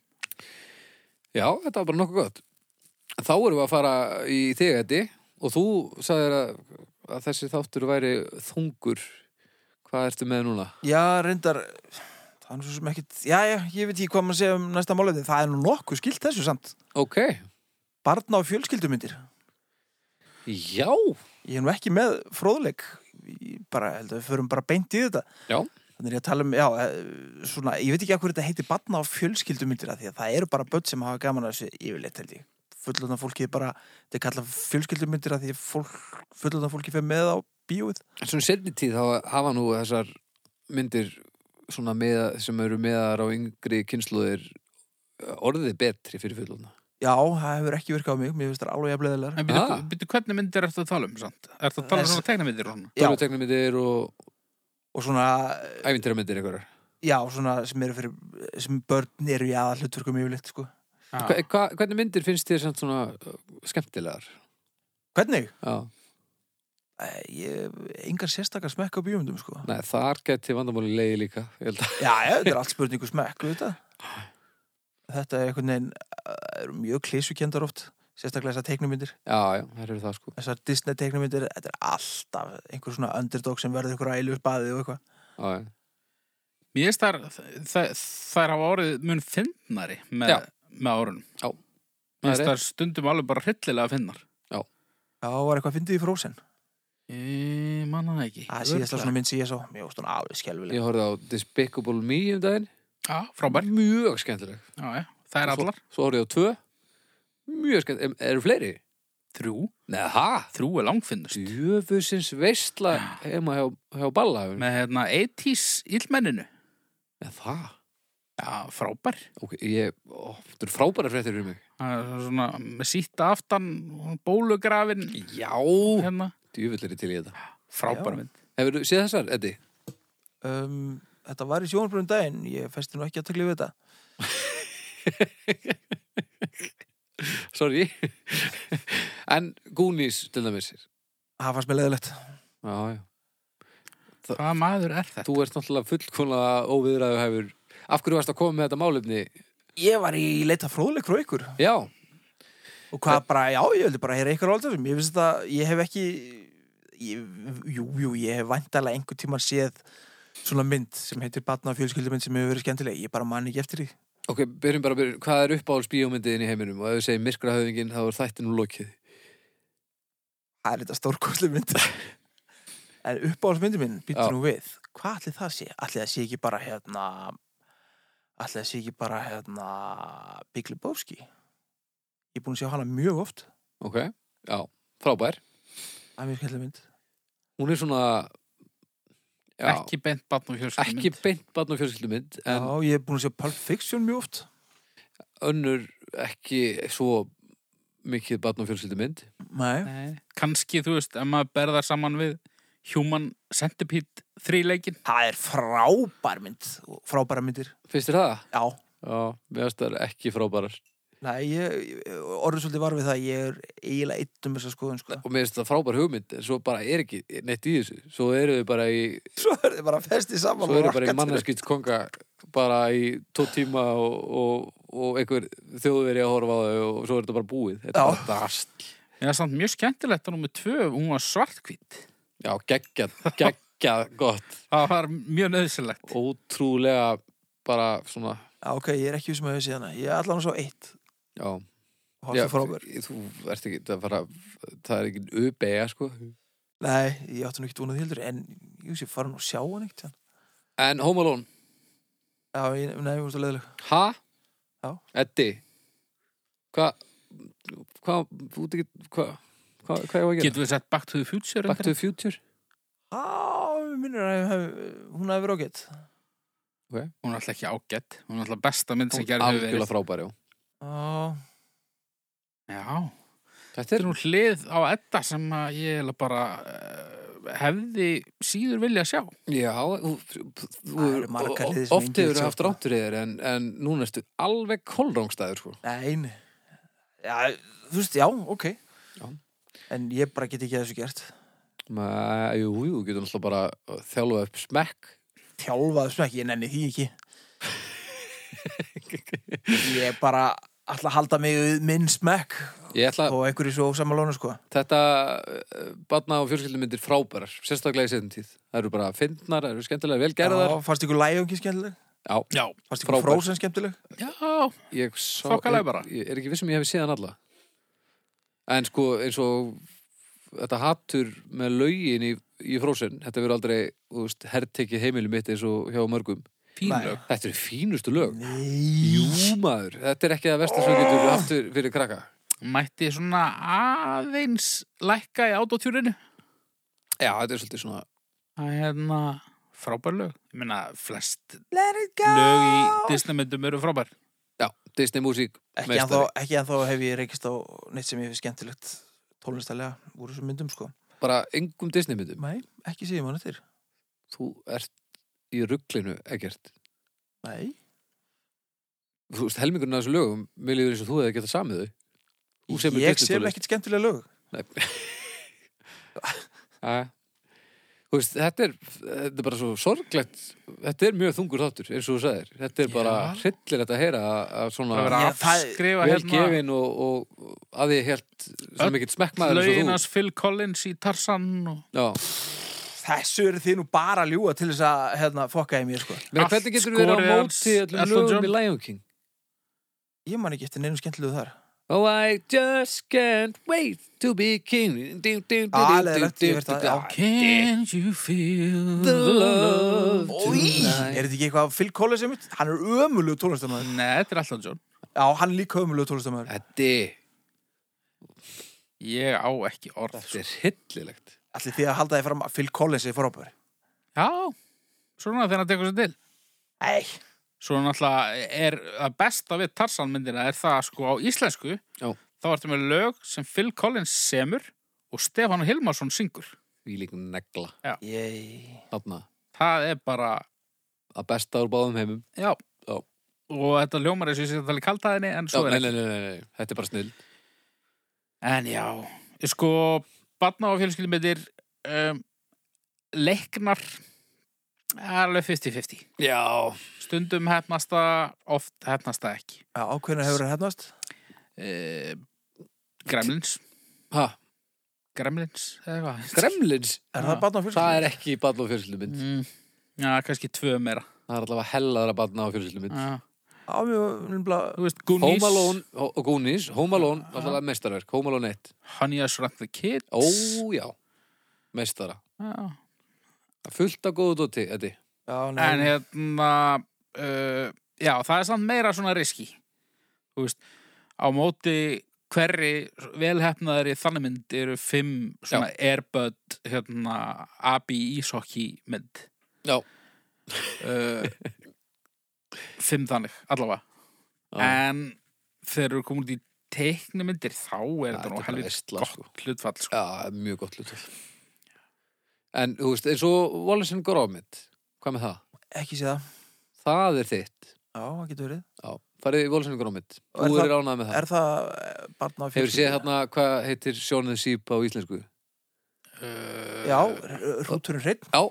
S1: Já, þetta var bara nokkuð gott Þá erum við að fara í þig þetta og þú sagðir að, að þessi þáttur væri þungur Hvað ertu með núna?
S2: Já, reyndar Það er nú svo sem ekkit Já, já, ég veit ekki hvað maður segja um næsta málefni Það er nú nokkuð skilt þessu samt
S1: Ok,
S2: Barna og fjölskyldumyndir
S1: já
S2: Ég er nú ekki með fróðleik Ég bara, held að við förum bara beint í þetta
S1: Já.
S2: Þannig er ég að tala um, já, eh, svona Ég veit ekki að hverju þetta heitir barna og fjölskyldumyndir af Því að það eru bara börn sem hafa gaman að þessu yfirleitt held ég Fullorðna fólki er bara Þetta er kallað fjölskyldumyndir af því að fólk, fullorðna fólki fer með á bíóið
S1: En Svona setni tíð þá hafa nú þessar myndir svona með, sem eru meðar á yngri kynsluðir orðið betri fyrir fulluna
S2: Já, það hefur ekki virkað á mig, mér finnst það alveg jafnleðilegar
S3: En byrju,
S1: Ah.
S3: byrju, hvernig myndir ertu að tala um, sant? Ertu að tala um
S2: Þessi-
S3: svona tegnamyndir og svona?
S2: Já,
S1: Tölvuteknumyndir og
S2: og svona,
S1: ævintýramyndir einhverjar
S2: já, svona sem eru fyrir, sem börn eru í aða hlutverkum yfirleitt, sko
S1: Hva, hva, hvernig myndir finnst þér samt svona uh, skemmtilegar?
S2: Hvernig?
S1: Já,
S2: Eh, Ég, engar sérstakar smekk á bíómyndum, sko
S1: nei, þar geti vandamáli leiði líka ég held að-
S2: Já, já, þetta er allt spurningu smekk, við þetta Þetta er einhvern veginn, eh, eru mjög klísukendar oft Sérstaklega þessar teiknumyndir,
S1: Já, já, þær eru það sko
S2: þessar Disney teiknumyndir Þetta er alltaf einhver svona underdog sem verður einhver ælu spaði og eitthvað
S1: Já, já.
S3: Mér finnst þær, þær, þær hafa orðið mun finnari með,
S1: Já.
S3: með árunum.
S1: Já.
S3: Mér finnst
S1: Það er
S3: þær stundum alveg bara hryllilega finnar.
S2: Já, var eitthvað fyndið í frósin
S3: Ég manna það ekki.
S2: Það síðast svona mynd sem ég sá, mér varst hún alveg skelfileg
S1: Ég horfði á Despicable Me um daginn
S3: Já, frábær.
S1: Mjög skemmtileg
S3: Já, já. Það er
S1: Svo-
S3: allar.
S1: Svo horfði ég á tvö Mjög skemmtileg, Em, eru fleiri?
S3: Þrjú.
S1: Nei, ha?
S3: Þrjú er langfinnust.
S1: Djöfusins veistla heima hjá, hjá Balla Nei,
S3: Með hérna 80s illmenninu.
S1: það
S3: Já, frábær.
S1: Ok, ég, ó, þetta eru frábæra fréttir fyrir mig
S3: Það er svona með síta aftan, bólugrafin,
S1: Já
S3: hérna.
S1: Djöfull er ég til í þetta
S3: Frábær
S2: Já.
S3: mynd.
S1: Hefur þú séð þessar, Eddi?
S2: um, Þetta var í sjónarbrunum daginn Ég festi nú ekki að takla við þetta
S1: Sorry (laughs) En Goonies til dæmis
S2: Það fannst mér leðilegt
S1: Já, já
S3: Hvaða maður er þetta?
S1: Þú ert náttúrulega fullkona óviðræðu hefur Af hverju varst að koma með þetta málefni?
S2: Ég var í leita fróðleik frá ykkur
S1: Já,
S2: Og hvað bara, já, ég vildi bara heyra ykkur á alltaf þessum Ég finnst að ég hef ekki ég, Jú, jú, ég hef vandalega einhver tíma séð Svona mynd sem heitir Batna fjölskyldumynd sem hefur verið skemmtileg Ég bara man ekki eftir því
S1: ok, byrjum bara að byrjum Hvað er uppáhalds bíómyndiðin í heiminum? Og ef við segjum myrkrahöfingin, þá er þættinu lokið
S2: Það er þetta stórkoslu
S1: (laughs)
S2: mynd En uppáhaldsmyndi minn,
S1: Já.
S2: býttu nú við Hvað ætli það sé? Ætli það sé ekki bara hérna Ætli það sé ekki bara hérna Big Lebowski Ég er búin að sjá hana mjög oft
S1: Ok, já, frábær
S2: Það er mjög skemmtileg mynd
S1: Hún er svona já,
S3: Ekki beint batn og hjölskum
S1: ekki beint barn og fjölskyldumynd En
S2: Já, ég er búin að sjá Pulp Fiction mjög oft
S1: önnur ekki svo mikið barn og fjölskyldumynd
S2: Nei,
S3: kannski, þú veist, ef maður berðar saman við Human Centipede þríleikin
S2: það er frábær mynd Frábæra myndir,
S1: Finnst þér það?
S2: já
S1: Já, mér finnst það ekki frábærar
S2: Nei, ég, ég- orðið svolítið var við það Ég er eiginlega eitt um þessa skoðun sko.
S1: og mér finnst það frábær hugmynd en svo bara er ekki neitt í þessu svo eru þau bara í
S2: (laughs) Svo er þið bara festið saman
S1: svo
S2: og
S1: eru bara í
S2: rakkarnir.
S1: mannarskitt konga bara í tó tíma og, og, og einhver þjóðveri að horfa á þau og svo er þetta bara búið þetta er
S2: Já.
S1: bara drast
S3: Mér er samt mjög skemmtilegt að nummer tvö hún var svartkvít
S1: já, geggjað, geggjað gott
S3: það var mjög nöðsilegt
S1: ótrúlega bara svona
S2: Já, ok, ég er ekki sem að hefði síðan Ég er allan svo eitt
S1: já,
S2: og
S1: já
S2: horfði frábær
S1: þú ert ekki það, bara, það er ekki uppeyja sko
S2: Nei, ég átti nú ekki vonað hildur En ég sé farin og sjá hann eitt
S1: en Home Alone,
S2: Já, ég, nei, ég vorst að leiðileg
S1: ha?
S2: Já.
S1: Eddi hvað hvað, þú ert ekki hvað, hvað, hvað ég var að gera?
S3: getum við sett Back to the Future
S1: Back to the Future
S2: Á, mér minnir að ég hef- hún hefði verið ágætt
S3: hún er alltaf ekki ágætt hún er alltaf besta mynd sem gerði hefur
S1: algjörlega
S3: verið
S1: frábæri já.
S2: Já,
S3: já,
S1: þetta
S3: þetta
S1: er
S3: er nú hlið á Edda sem að ég eiginlega bara uh, hefði síður vilja sjá
S1: Já, þú- þú-
S2: Það eru margar hliðir sem
S1: oft
S2: enginn sko.
S1: hefur
S2: sá
S1: haft
S2: það.
S1: ráttur í þér en, en núna erstu alveg kolrángstæður sko.
S2: nei, nei já, þú veist, já, ok
S1: Já.
S2: en ég bara get ekki að þessu gert
S1: Mæ, jú, jú, getur náttúrulega bara þjálfa upp smekk
S2: þjálfaði smekk, ég nenni því ekki ég er bara alltaf að halda mig við minn smekk
S1: Ég ætla,
S2: og einhverju svo samanlónu sko
S1: þetta eh, barna og fjölskyldumyndir frábærar sérstaklega í setjum tíð, það eru bara fyndnar, það eru skemmtilega vel gerðar
S2: Já, fannst ykkur lægjöngi skemmtileg?
S1: Já,
S3: Já,
S2: fannst ykkur
S1: Frábær.
S2: frósen skemmtileg?
S3: já,
S1: ég sá
S3: Þokkalega bara.
S1: ég, ég er ekki vissum ég hefði séð hann alla en sko eins og þetta hattur með lögin í, í frósin, þetta verður aldrei þú veist, hertekið heimili mitt eins og hjá mörgum
S3: fínlög
S1: þetta eru fínustu lög
S2: Nei
S1: Jú maður, þetta er ekki að versta sem þú getur haft fyrir krakka
S3: Mætti svona aðeins lækka í autotjúrinu
S1: Já, þetta er svolítið svona
S3: Það er hérna frábær lög Ég meina, flest
S2: Let it go
S3: lög í Disneymyndum eru frábær
S1: Já, Disney músík
S2: Ekki
S1: meistari.
S2: ennþá, ekki ennþá hef ég reykist á neitt sem ég hef skemmtilegt tólnistælega úr þessum myndum sko
S1: Bara engum Disney myndum
S2: Nei, ekki um síðan mann eftir
S1: Þú ert í rugglinu ekkert
S2: Nei
S1: Þú veist, helmingurinn af þessu lögum Mér líður eins og þú hefði getað samið þau Þú semur
S2: Ég
S1: Disney
S2: sem
S1: tónlist.
S2: ekkert skemmtilega lög
S1: (laughs) Jæja. Þú veist, þetta er, þetta er bara svo sorglegt Þetta er mjög þungur þáttur, eins og þú sagðir Þetta er bara
S3: Já.
S1: hryllilegt að heyra að- að
S3: Það
S1: svona
S3: verður
S2: Já,
S3: að
S2: það-
S3: afskrifa
S1: vel
S3: hérna
S1: gefin og, og að ég held svo
S3: Öll
S1: mikill smekkmaður
S3: lögin
S1: eins
S3: hans Phil Collins í Tarzan og
S1: og þú Já,
S2: Þessu eru þið nú bara að ljúga til þess að hérna, fokka í mér sko
S1: Meina,
S3: Allt
S1: hvernig getur við verið
S3: skorið
S1: á
S3: hans,
S1: móti öllum
S3: Elton
S1: lögum
S3: John.
S1: í Lion King?
S2: Ég man ekki eftir neinu skemmtilegu þar
S1: Oh, I just can't wait to be king Ding, ding, ding,
S2: Ah,
S1: ding,
S2: leiðilegt,
S1: ding,
S2: ég veit það,
S1: ding,
S2: já.
S1: ding.
S3: Can't you feel
S1: The love
S2: Í, Er
S1: tonight
S2: þetta ekki eitthvað af Phil Collins sem mitt? Hann er ömulegu tólnistamaður
S3: Nei, þetta er alltaf John
S2: Já, hann er líka ömulegu tólnistamaður
S1: Þetta er-
S3: Ég á ekki orð
S1: þetta er hillilegt
S2: Allir því að halda þið fram að Phil Collins er frábær
S3: Já, svona þegar hann tekur sér til
S2: Nei
S3: Svo náttúrulega er að besta við Tarzan myndina er það sko á íslensku
S1: Já.
S3: þá ertu með lög sem Phil Collins semur og Stefán Hilmarsson syngur
S1: Við líkum negla
S2: Yey.
S1: Þarna,
S3: Það er bara,
S1: að besta úr báðum heimum
S3: já
S1: Já.
S3: og þetta ljómar eins og ég sé að tala í kaldaðinni en
S1: Já,
S3: svo
S1: nei,
S3: er
S1: nei,
S3: ekki
S1: nei, nei, nei, þetta er bara snill
S3: En já, ég sko barna og fjölskyldumitir um, leiknar alveg 50-50
S1: Já,
S3: stundum hefnast það, oft hefnast það ekki
S2: Já, hvernig hefur það hefnast?
S3: uh, Gremlins
S1: ha,
S3: Gremlins, eða hvað
S1: Gremlins
S2: Er
S3: Já.
S2: það barn á
S1: Það er
S2: fjölskyldum?
S1: ekki barn og fjölskyldumynd
S3: mm, Já, kannski tvö meira
S1: Það er allavega hellaðra barn og fjölskyldumynd
S3: Já,
S2: Já, mjög nefnilega
S3: Þú veist, Ah. Goonies Ah.
S1: Home Alone, Ho- og Goonies, Home Alone, allavega mestarverk Home Alone 1,
S3: Honey, I Shrunk the Kids
S1: ó já Mestara,
S3: Já.
S1: fullt af góðu dóti, Eddi
S2: Já, nei,
S3: En hérna uh, Já, það er samt meira svona riski Þú veist Á móti hverri velhefnaðari þannig mynd eru fimm svona Airbud hérna, Abi Ísokki mynd
S1: Já.
S3: uh, Fimm þannig, allavega
S1: Já,
S3: En þegar eru komin út í teiknumyndir þá er
S1: þetta
S3: þetta
S1: er
S3: nú
S1: bara
S3: helvit
S1: veistla,
S3: gott
S1: sko.
S3: hlutfall sko.
S1: Já, það er mjög gott hlutvall En, þú veist, eins og Wallace and Gromit Hvað með það?
S2: ekki sé það
S1: Það er þitt
S2: Já, það getur verið
S1: Já, farið í Wallace and Gromit
S2: Og er
S1: Þú
S2: það-
S1: er ánað með það
S2: Er það eh, barn á fjölskyldum?
S1: Hefur séð þarna hvað heitir sjónið síp á íslensku?
S3: uh,
S2: Já, r- r- hrúturinn hreinn
S1: Já,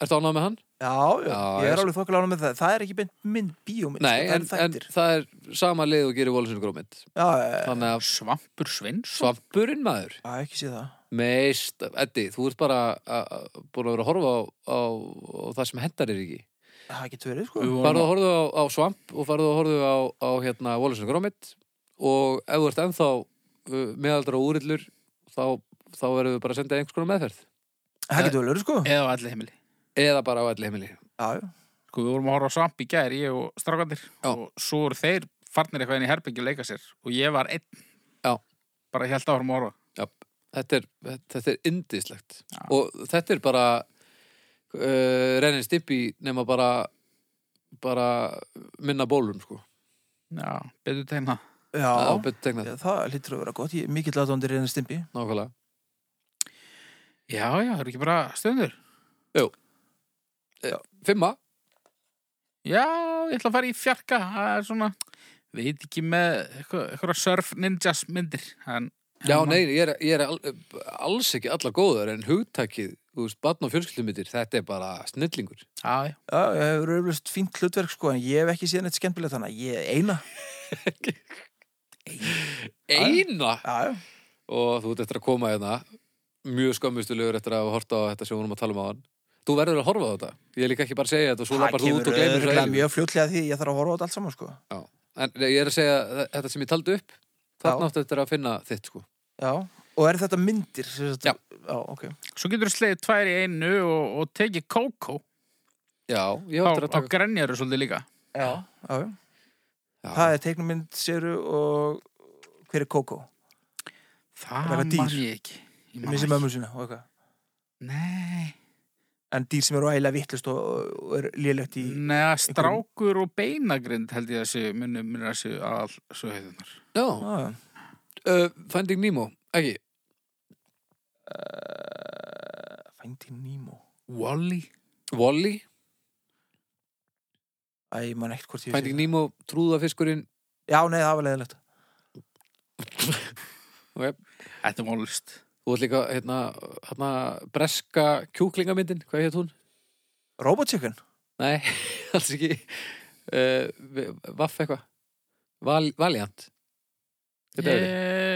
S1: ertu ánað með hann?
S2: Já, já,
S1: Já,
S2: ég
S1: ég-
S2: er alveg þokkilega ánum með það Það er ekki mynd, mynd bíómynd
S1: Nei,
S2: sko,
S1: en,
S2: það
S1: en
S2: er þættir
S1: það er sama leið og gerir Wallace and Gromit
S2: Já, já,
S1: Þannig að
S3: Svampur Svins
S1: svampurinn maður
S2: já, ekki sé það
S1: Meist, Eddi, þú ert bara a- a- búin að vera að horfa á, á, á það sem hendar er ekki
S2: Það getur verið, sko
S3: Við vorum
S1: Farðu að horfa á, á svamp og farðu að horfa á, á hérna Wallace and Gromit og ef þú ert ennþá uh, meðaldra og úrillur þá, þá verðum við bara að senda einhvers konar meðferð
S2: Það getur verið, sko Já,
S3: eða á allir heimili
S1: eða bara á allir heimili
S2: já,
S3: sko við vorum að horfa á svamp í gær ég og strákandir
S1: Já.
S3: og svo eru þeir farnir eitthvað inn í herbyggju að leika sér og ég var einn
S1: Já.
S3: bara hjælt áfram að horfa
S1: Já, þetta er, þetta er indislegt og þetta er bara uh, reynir stippi nema bara bara minna bólum sko
S3: já, betur hérna. tegna
S1: það
S2: já,
S1: ábyrgt tegnað,
S2: já Það hlýtur að vera gott Ég er mikill aðdóndir reyna stimpi
S1: nákvæmlega
S3: já, já, það eru ekki bara stundur
S1: Fimma,
S3: já, ég ætla að fara í fjarka það er svona veit ekki með eitthvað, eitthvað surf ninjas myndir en,
S1: Já,
S3: en-
S1: nei, ég er, ég er al, alls ekki allar góður en hugtakið, þú veist, barn og fjölskyldumittir, þetta er bara snillingur.
S3: Já, já.
S2: Já, það hefur auðvitað fínt hlutverk sko, en ég hef ekki síðan eitt skemmtilegt þannig að ég eina.
S1: Eina!
S2: Já, já.
S1: Og þú ert eftir að koma hérna, mjög skammustulegur eftir að hafa horta á þetta sem við vorum að tala um á hann. Þú verður að horfa á þetta. Ég er líka ekki bara að segja þetta og svo
S2: það
S1: lapar þú út
S2: kemur
S1: og gleymir svo
S2: örugglega
S1: einu.
S2: mjög fljótlega því ég þarf að horfa á þetta allt saman sko.
S1: En nei, ég er að segja þe- þetta sem ég taldi upp,
S2: Já.
S1: þarna áttu eftir að finna þitt, sko.
S2: Já, og er þetta myndir? sem sagt-
S1: Já.
S2: Já, ok.
S3: Svo getur þú slegið tvær í einu og, og tekið kókó
S1: Já, ég
S3: á,
S1: áttu
S3: á
S1: að taka...
S3: grenjaru svolítið líka
S2: Já, já, já.
S1: Já.
S2: Það er teiknumynd, séru, og hver er Kókó?
S3: Það
S2: Bara
S3: man
S2: dýr.
S3: ég ekki Ég man
S2: Missi
S3: ekki.
S2: mömmu sína og eitthvað.
S3: Nei, en
S2: En dýr sem eru ægilega vittlust og, og er lélegt í...
S3: neða strákur og beinagrind held ég að sé munum munur að sé all svo heiðunar
S1: Mm. Já,
S2: Já, já.
S1: uh, Finding Nemo, ekki.
S2: Fændi Eh, Nemo.
S3: Wall-E
S1: Wall-E,
S2: Æ, ég man ekkert hvort ég...
S1: Finding Nemo, Trúðafiskurinn,
S2: Já, nei, það var leiðilegt.
S3: Þetta er mólust
S1: Þú ert líka, hérna, hérna, breska kjúklingamyndin, hvað hétt hún?
S2: Robot Chicken?
S1: Nei, (laughs) alls ekki. Uh, vaff eitthvað. Val, Valiant. Þetta er
S3: Ég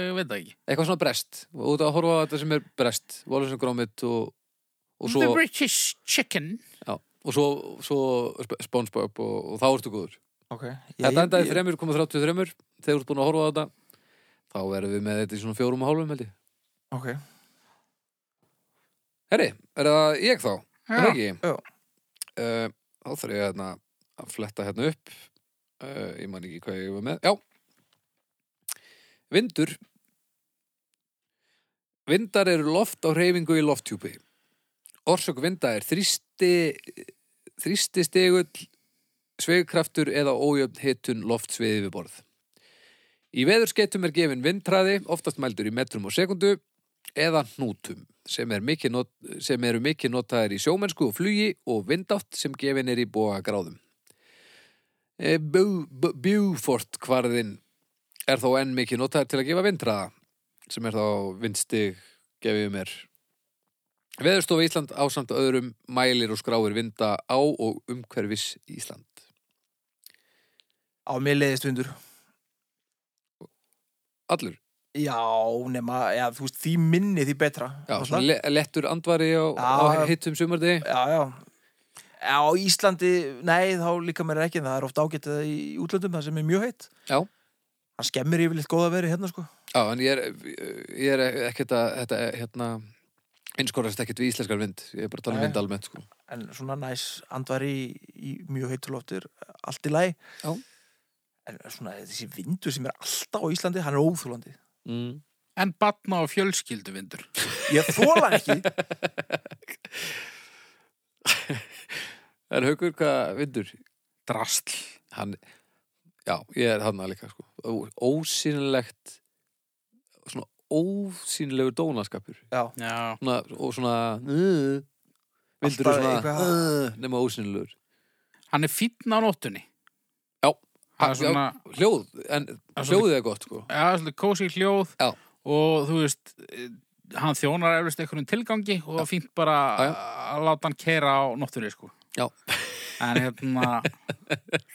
S3: Eh, veit það ekki
S1: eitthvað svona brest. Og út að horfa á þetta sem er brest. Wallace and Gromit og, og
S3: The
S1: svo,
S3: British Chicken
S1: og svo, svo Sp- SpongeBob og, og þá ertu góður.
S2: Ok. Ég,
S1: Þetta endaði 3,33.
S2: ég-
S1: Þegar þú ert búin að horfa á þetta, þá verðum við með þetta í svona fjórum og hálfum held ég.
S2: Ok.
S1: Herri, er það ég þá? Er það
S3: Já,
S1: ekki?
S2: Já.
S1: Eh, þá þarf ég hérna, að fletta hérna upp. Uh, ég man ekki hvað ég var með. Já. Vindur. Vindar eru loft á reyfingu í lofthjúpi. Orsök vinda er þrýsti, þrýsti stegull, sveigkraftur eða ójöfn hitun loftsviði við borð. Í veðurskettum er gefin vindtræði, oftast mældur í metrum og sekundu, eða hnútum sem, er mikið not, sem eru mikið notaðir í sjómennsku og flugi og vindátt sem gefin er í E, boga gráðum. Bufort kvarðin er þó enn mikið notaðir til að gefa vindraða sem er þá vindstig gefið mér. Veðurstofa Ísland ásamt öðrum mælir og skráir vinda á og umhverfis Ísland.
S2: Á mér leiðist vindur.
S1: Allur,
S2: Já, nema, já, þú veist, því minni því betra.
S1: já,
S2: Náttúrulega.
S1: svona le lettur andvari á,
S2: Já.
S1: á hittum sumardegi.
S2: Já, já. Á Íslandi, nei, þá líka mér ekki, en það er oft ágættið í útlöndum, það sem er mjög heitt.
S1: Já.
S2: Það skemmir yfirleitt góða veri hérna, sko.
S1: Já, en ég er, ég er ekkert að, þetta, hérna, einskorast ekkert við íslenskar vind. Ég er bara að tala um
S2: Nei.
S1: vind almennt, sko.
S2: En svona næs andvari í, í mjög heitt loftir, allt í lagi.
S1: Já.
S2: En svona þessi vindur sem er alltaf á Íslandi, hann er óþúlandi.
S1: Mm.
S3: En batna á fjölskylduvindur
S2: Ég þóla hann
S1: (laughs)
S2: ekki.
S1: En haukur, hvað vindur?
S3: Drastl
S1: Hann, já, ég er hann að líka, sko. Ó- Ósýnilegt, svona ósýnilegur dónaskapur.
S3: Já,
S1: Svona, og svona, uh, vindur er
S2: Alltaf
S1: svona,
S2: eitthvað-
S1: uh, nema ósýnilegur.
S3: hann er fínn á nóttunni
S1: Já.
S3: Það er
S1: Já.
S3: svona,
S1: Hljóð, en
S3: er
S1: hljóðið er gott, sko.
S3: já, það er svolítið kósi hljóð
S1: Já.
S3: og þú veist eh, hann þjónar eflust einhverjum tilgangi og það er fínt bara
S1: Já, já.
S3: að láta hann keira á nóttunni sko.
S1: Já.
S3: en hérna
S1: (laughs)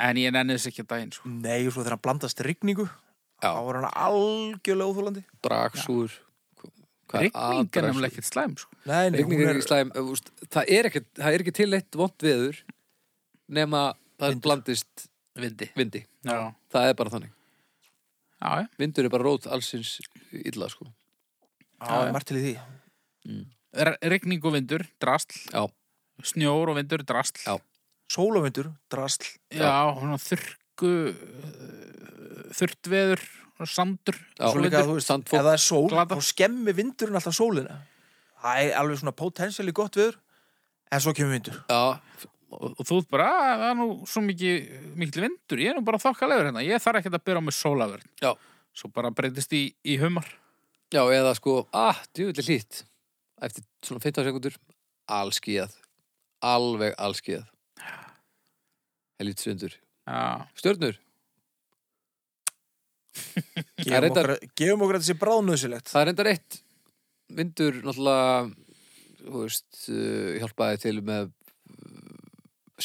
S3: en ég nenni þess ekki að daginn sko.
S2: Nei, og svo þegar hann blandast rigningu,
S1: Já.
S2: þá er hann algjörlega óþúlandi.
S1: Braksúr. hvað er
S3: rigning er
S1: aðdragsúr?
S3: nefnilega ekkert slæm sko.
S2: Nei, nei,
S1: Rigning
S2: hún
S1: er í slæm eh, úst, það, er ekki, það er ekki til eitt vond veður nema það
S2: Vindur.
S1: blandist
S3: vindi
S1: vindi
S3: já,
S1: það er bara þannig,
S3: já, já.
S1: vindur er bara rót allsins illa sko
S2: Já, ég margt til í því.
S3: R- rigning og vindur, drastl
S1: Já.
S3: snjór og vindur, drastl
S1: Já.
S2: Sólavindur, drasl,
S3: Já, svona þurrku eh, þurrt veður og sandur
S1: Já.
S2: svo
S3: svo
S2: líka,
S3: vindur.
S2: þú veist,
S1: Sandfok.
S2: ef það er sól
S3: Glata.
S2: þá skemmi vindurinn alltaf sólina það er alveg svona potensiali gott viður en svo kemur vindur
S1: já,
S3: og, og þú ert bara, "Ah, það er nú svo mikið mikil vindur, ég er nú bara þokkalegur hérna ég þarf ekkert að byrja á mig sólaverð
S1: Já.
S3: svo bara breytist í, í humar
S1: já, eða sko ah, djúvillig hlýtt eftir svona 15 sekundur allskíðað, alveg allskíðað helvitsvindur
S3: Já,
S1: Stjörnur, Það er
S2: Gefum okkur, gefum okkur að þetta sé bráðnöðsilegt
S1: það er endar eitt Vindur náttúrulega þú veist, uh, hjálpaði til með uh,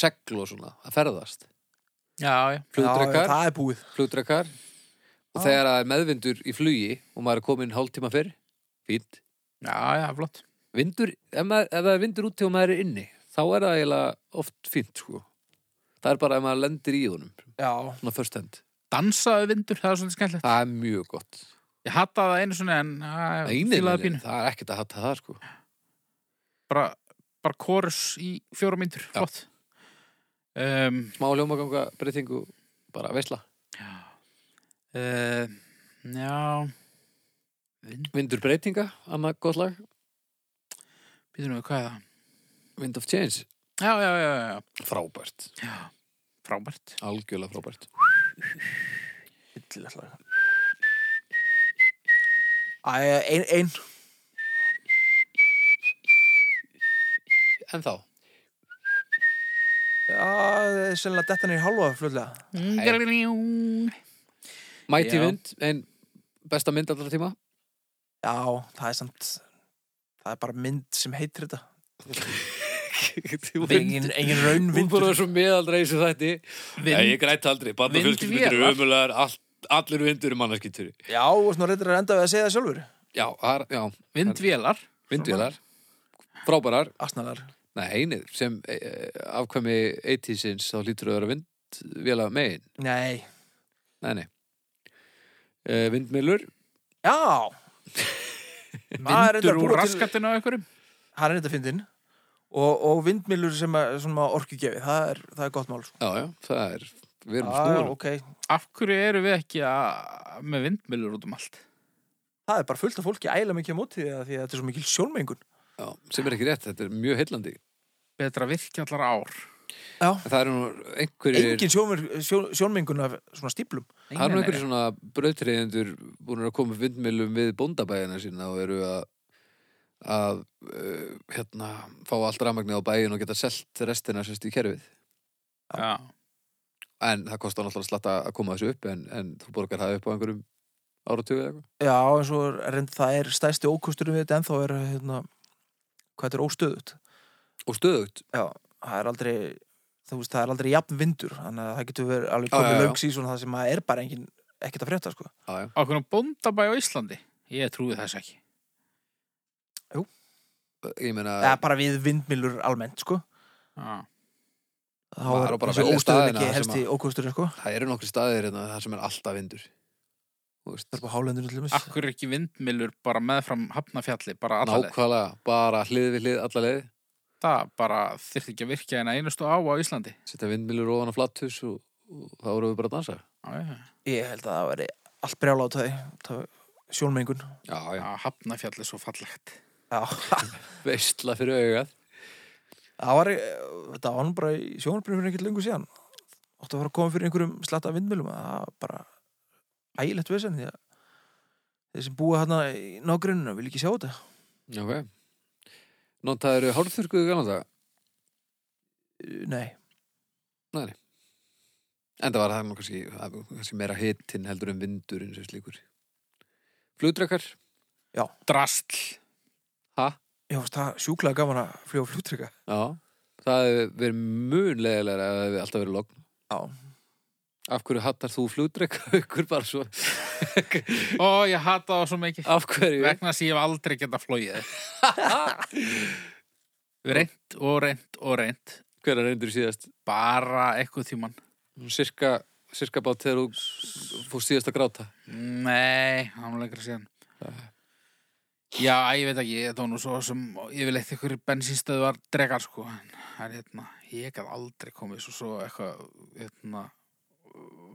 S1: segl og svona að ferðast,
S3: já, já.
S1: flugdrekar
S2: það er búið
S1: flugdrekar og
S2: Já.
S1: þegar það er meðvindur í flugi og maður er komin hálftíma fyrr fínt,
S3: Já, já, flott.
S1: vindur ef, maður, ef það er vindur úti og maður er inni þá er það eiginlega oft fínt sko. það er bara ef maður lendir í honum
S2: Já,
S1: svona first hand,
S3: Dansaðu vindur, það er svolítið skemmtilegt.
S1: það er mjög gott
S3: Ég hataði það einu svona en já, já,
S1: Einir,
S3: fílaði pínu.
S1: það er ekkert að hatta það sko.
S3: Bara, bara kórus í fjóra myndur, flott. Um,
S1: smá hljómaganga breytingu bara veisla,
S3: uh, já, vind,
S1: vindur breytinga annað gott lag,
S3: býtum við hvað er það?
S1: Wind of Change
S3: Já, já, já, já, já.
S1: frábært,
S3: frábært.
S1: algjörlega frábært
S2: yllilega Æ, ein, ein
S1: en þá,
S2: Já, sennilega detta niður í hálfa fljóðlega
S3: Hey.
S1: Mighty
S3: Já.
S1: Wind ein besta mynd allra (laughs) tíma
S2: Já, það er samt Það er bara mynd sem heitir þetta Engin, engin raun
S1: Hún
S2: vindur
S1: bara var svo meðaldra í þessu þætti Nei, ég græt aldrei, bann og
S3: Vind-
S1: fjölskyldur
S3: vélar.
S1: umulagar, all, allir vindur er mannarskýttur
S2: Já, og svona reyndir að enda við að segja það sjálfur
S1: Já, þar, já,
S3: Vindvélar.
S1: vindvélar Frábærar,
S2: Asnalar
S1: nei, einir sem e, e, afkvæmi 80-sins þá lítur þau að vera vindvéla megin
S2: Nei
S1: Nei, nei e, Vindmilur,
S2: (laughs) Já
S1: Ah,
S2: Það er reyndar
S3: Vindur
S2: að
S3: úr
S2: búa til-
S3: raskatinu á einhverjum.
S2: Það er þetta fyndin og, og vindmilur sem er svona orku gefið það er, það er gott mál sko.
S1: já, já, það er Við erum
S2: Já, já,
S1: snúður
S2: Ah, ok.
S3: Af hverju eru við ekki að, með vindmjölur út um allt?
S2: Það er bara fullt af fólki ægilega mikið á móti því að því að þetta er svo mikil sjónmengun
S1: já, sem er ekki rétt, þetta er mjög heillandi
S3: Betra virkja allar ár.
S2: Já,
S1: En Það eru nú einhverjir
S2: engin sjónmen, sjón, sjónmengun af svona stíplum
S1: Það
S3: Nei,
S1: eru
S3: nei,
S1: einhverjir svona brautriðendur búin að koma vindmilum við bóndabæðina sína og eru að, að uh, hérna, fá allt rafmagnið á bæin og geta selt restina sérst í kerfið.
S3: nei. Já.
S1: En það kostar náttúrulega slatta að koma þessu upp en, en þú borgar það upp á einhverjum áratugu eða eitthvað.
S2: Já, en svo er reynd það er stæsti ókosturum við þetta en þá er hérna, hvað þetta er óstöðut
S1: Og stöðugt.
S2: Já, það er aldrei þú veist, það er aldrei jafn vindur þannig að það getur verið alveg
S1: Já, já,
S2: komið
S1: já.
S2: löng síðan það sem að er bara engin, ekkert að frétta sko.
S1: Já, já.
S3: Á hvernig bóndabæ á Íslandi? Ég trúi þess ekki.
S1: Ég meina,
S2: eða bara við vindmilur almennt sko.
S3: Já.
S2: þá
S1: Maður
S2: er
S1: á bara að
S2: þessi
S1: velja
S2: óstöðun
S1: staðina
S2: ekki
S1: sem
S2: helsti ókosturinn sko.
S1: það eru nokkri staðir hérna þar sem er alltaf vindur. Þú
S2: Það
S1: veist,
S2: er bara hálendinu til
S3: Af
S2: þess
S3: hverju er ekki vindmjölur bara meðfram hafnafjalli, bara allaleg?
S1: nákvæmlega, bara hlið við hlið alla leið.
S3: Það bara þyrfti ekki að virkja en að einustu á á Íslandi.
S1: Setja vindmilur ofan á flatthus og, og þá eru við bara að dansa.
S3: Já, já.
S2: Ég held að það veri allt brjála á þau Sjónmengun
S1: Já, já.
S3: Já, hafnafjall er svo fallegt.
S2: Já, (laughs)
S1: Veistla fyrir augað.
S2: það var þetta var nú bara í sjónarbrunum fyrir ekkert lengur síðan Óttu að fara að koma fyrir einhverjum slatta vindmjölum það var bara ægilegt vesen því að þeir sem búa hérna í nágruninu vil ekki sjá þetta
S1: Ok. Notaður hárþurku í gamla daga?
S2: Nei,
S1: Enda var það nú kannski, það var kannski meira hitinn heldur en vindurinn sem slíkur. Flugdrakar?
S3: Drastl.
S1: Ha?
S2: ég fannst það sjúklega gaman að fljóða fljóttrykka
S1: Já. Það hefur verið mun leðilega að það hefur alltaf verið logn.
S2: Já,
S1: Af hverju hattar þú flugdrakar (laughs) ykkur bara svo?
S3: Ó, ég hata það svo mikið.
S1: Af hverju?
S3: Vegna þess að ég hef aldrei geta (laughs) flóið. reynt og reynt og reynt.
S1: Hver er reyndur síðast?
S3: Bara eitthvað tíman.
S1: Sirka, sirka bát þegar þú fórst síðast að gráta.
S3: Nei, hann var lengra síðan. Já, æ, ég veit ekki, þetta var nú svo sem yfirleitt ykkur bensínstöðu var dregar, sko. En það er hérna, ég hef aldrei komið svo svo eitthvað, hérna,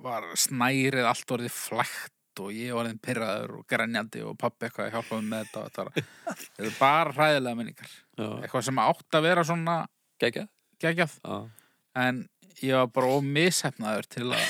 S3: var snærið allt orðið flægt og ég var einn pyrraður og grenjandi og pappi eitthvað að hjálpa mig með þetta. og Þetta var, þetta var bara hræðilega minningar.
S1: Já.
S3: Eitthvað sem átt að vera svona
S1: Gækja?
S3: geggjað
S1: Já.
S3: en ég var bara ómishefnaður til að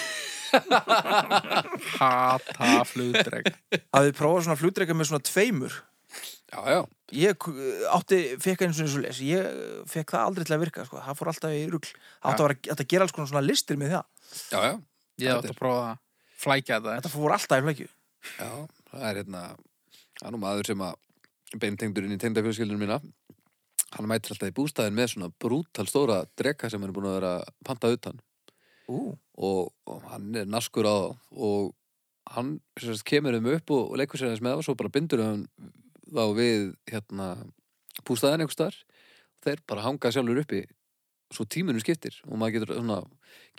S3: hata flugdreg
S2: að við prófa svona fljóttrykka með svona tveimur
S1: já, já,
S2: Ég k- átti, fekk eins og eins og les Ég fekk það aldrei til að virka sko. Það fór alltaf í rugl Það átti að, vera, átti að gera alls konar svona listir með það
S1: já,
S3: Ég
S1: já,
S3: átt
S1: Þetta
S3: að prófa að flækja þetta
S2: Þetta fór alltaf í flækju
S1: já það er hérna það er nú maður sem að beintengdur inn í tengdafjölskyldunum mína hann mætir alltaf í bústæðin með svona brútal stóra dreka sem hann er búin að vera að panta utan
S2: Ú,
S1: og, og hann er naskur á það og hann sem sagt, kemur um upp og, og leikur sér aðeins með það og svo bara bindur hann þá við hérna bústæðin einhvers staðar þeir bara hanga sjálfur uppi svo tímunum skiptir og maður getur svona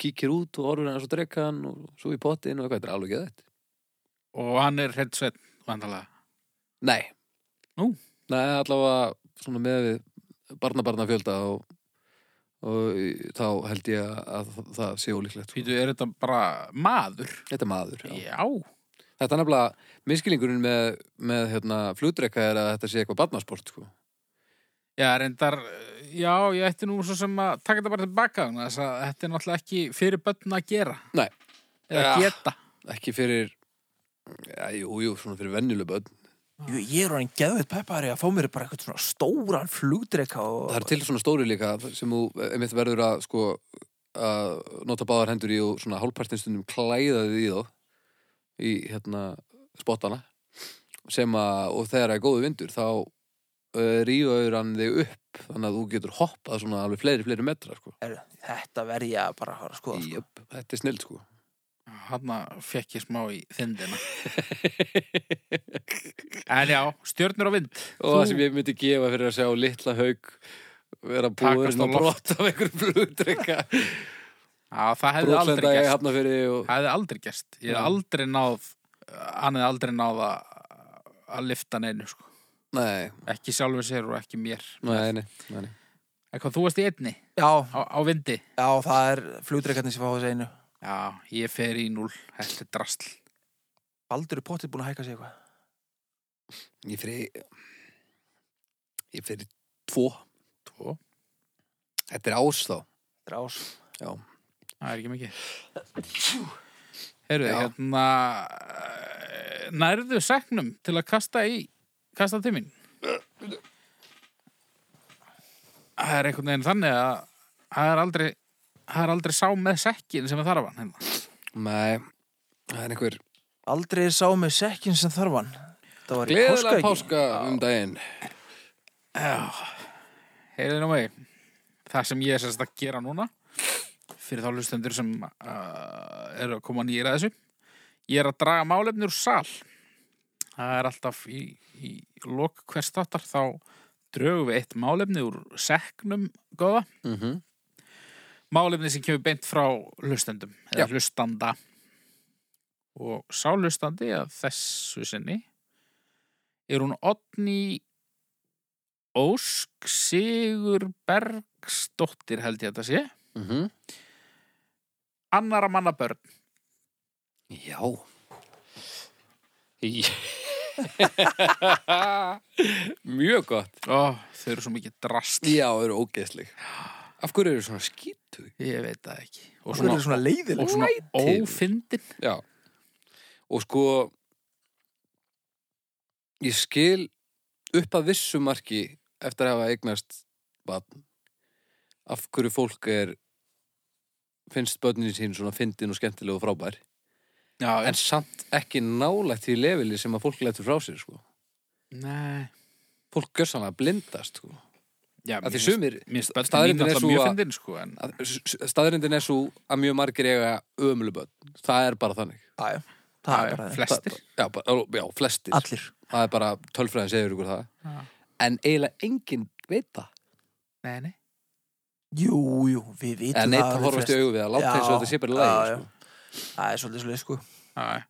S1: kíkir út og orður hann svo drekan og svo í pottin og eitthvað, þetta er alveg geðið
S3: og hann er hreitt sveit vandalega.
S1: Nei.
S3: Nú?
S1: Nei, allavega svona með við barnabarna fjölda og, og í- þá held ég að það- það sé ólíklegt.
S3: Pítu, er þetta bara maður?
S1: Þetta er maður, já.
S3: Já.
S1: Þetta er nefnilega, miskilingurinn með, með hérna, flutrekka er að þetta sé eitthvað barnasport, sko.
S3: Já, reyndar, eh, já, ég ætti nú svo sem að taka þetta bara tilbaka þannig að þetta er náttúrulega ekki fyrir börn að gera.
S1: Nei.
S3: Eða
S1: Ja.
S3: geta.
S1: Ekki fyrir, já, jú, jú, svona fyrir venjuleg börn.
S2: jú, ég er hann geðveit peppari að fá mér bara eitthvað svona stóran flugdreka og...
S1: Það er til svona stóri líka sem þú einmitt verður að, sko, að nota báðar hendur í og svona hálfpartinstundum klæðaði í þá í, hérna, spottana sem að, og þegar það er góðu vindur þá uh, rífaður hann þig upp þannig að þú getur hoppað svona alveg fleiri, fleiri metra, sko.
S2: Heyrðu, Þetta verð ég að bara að fara að skoða sko.
S1: Jöp, þetta er snill, sko.
S3: Hanna fekk ég smá í þindina. en já, stjörnur og vind.
S1: Og það sem ég myndi gefa fyrir að sjá litla haug vera
S3: Takast
S1: búin
S3: á
S1: að brota af einhverjum (laughs) flugdrekka
S3: Já, það hefði aldrei
S1: brotlenda í
S3: gerst.
S1: hafna fyrir og...
S3: Það hefði aldrei gerst. Ég hef
S1: Já.
S3: aldrei náð, eh, hann hefði aldrei náð að, að lifta neinu, sko.
S1: Nei,
S3: Ekki sjálfur sér og ekki mér.
S1: nei, nei, nei, nei.
S3: Eitthvað, þú varst í einni
S2: já,
S3: á, á vindi.
S2: já, það er flugdrekarnir sem fá þessu einu
S3: Já, ég fer í núl. Þetta er drasl.
S2: Baldur er pottið búin að hækka sig eitthvað
S1: Ég fyrir Ég fyrir tvo
S3: Tvo.
S1: Þetta er ás þá
S2: Þetta er ás
S3: Það er ekki mikið. Herru,
S1: Já.
S3: hérna, eh, nærðu seknum til að kasta í, kasta til mín. Það er einhvern veginn þannig að það er aldrei, það er aldrei sá með sekkin sem er þarf hann. Hérna.
S1: Nei, það er einhver
S2: Aldrei sá mig sekkin sem þarf hann Það var í
S1: Gleðilega páska
S2: páskaeggi.
S1: um daginn
S3: Heyrðu nú mig, það sem ég er sérst að gera núna fyrir þá hlustendur sem uh, eru að koma nýra þessu ég er að draga málefni úr sal það er alltaf í, í lok hvers þáttar þá drögum við eitt málefni úr seknum góða
S1: mm -hmm.
S3: málefni sem kemur beint frá hlustendum eða
S1: Já.
S3: hlustanda og sá hlustandi að þessu sinni er hún Otni Ósk Sigurbergsdóttir held ég að þetta sé
S1: Mm -hmm.
S3: annara manna börn
S1: Já Í- (laughs) Mjög gott
S3: oh, þau eru svo mikið drast
S1: Já, þau eru ógeðsleg Af hverju eru svona skýtu?
S3: ég veit það ekki og
S2: Hún
S3: svona,
S2: er svona leiðileg
S3: og svona
S1: Lætin.
S3: ófyndin
S1: Já Og sko Ég skil upp að vissu marki eftir að hafa eignast batn af hverju fólk er finnst börnin sín svona fyndin og skemmtileg og frábær
S3: já,
S1: en samt ekki nálægt því lefili sem að fólk letur frá sér sko.
S3: nei
S1: fólk gör sann að blindast sko.
S3: já,
S1: að því
S3: finnst-
S1: sumir
S3: mér finnst börnin mín
S1: staðreyndin er
S3: alltaf
S1: sú
S3: mjög
S1: að-
S3: fyndin sko, en
S1: að- s- s- staðreyndin er svo að mjög margir eiga ömlu börn það er bara þannig
S2: Já, já. Það er
S3: já,
S2: bara það.
S3: flestir
S1: já, bara, já flestir
S2: Allir
S1: það er bara tölfræðin segir ykkur það
S3: Já.
S1: en eiginlega enginn veit það
S3: nei, nei
S2: Jú, jú, við vitum
S1: en neitt að
S2: alveg
S1: horfast í
S2: flest.
S1: augu við að láta
S2: Já,
S1: eins og þetta sé bara í
S2: já,
S1: lagi
S2: já.
S1: sko.
S2: Það er svolítið svolítið sko
S3: Já, já.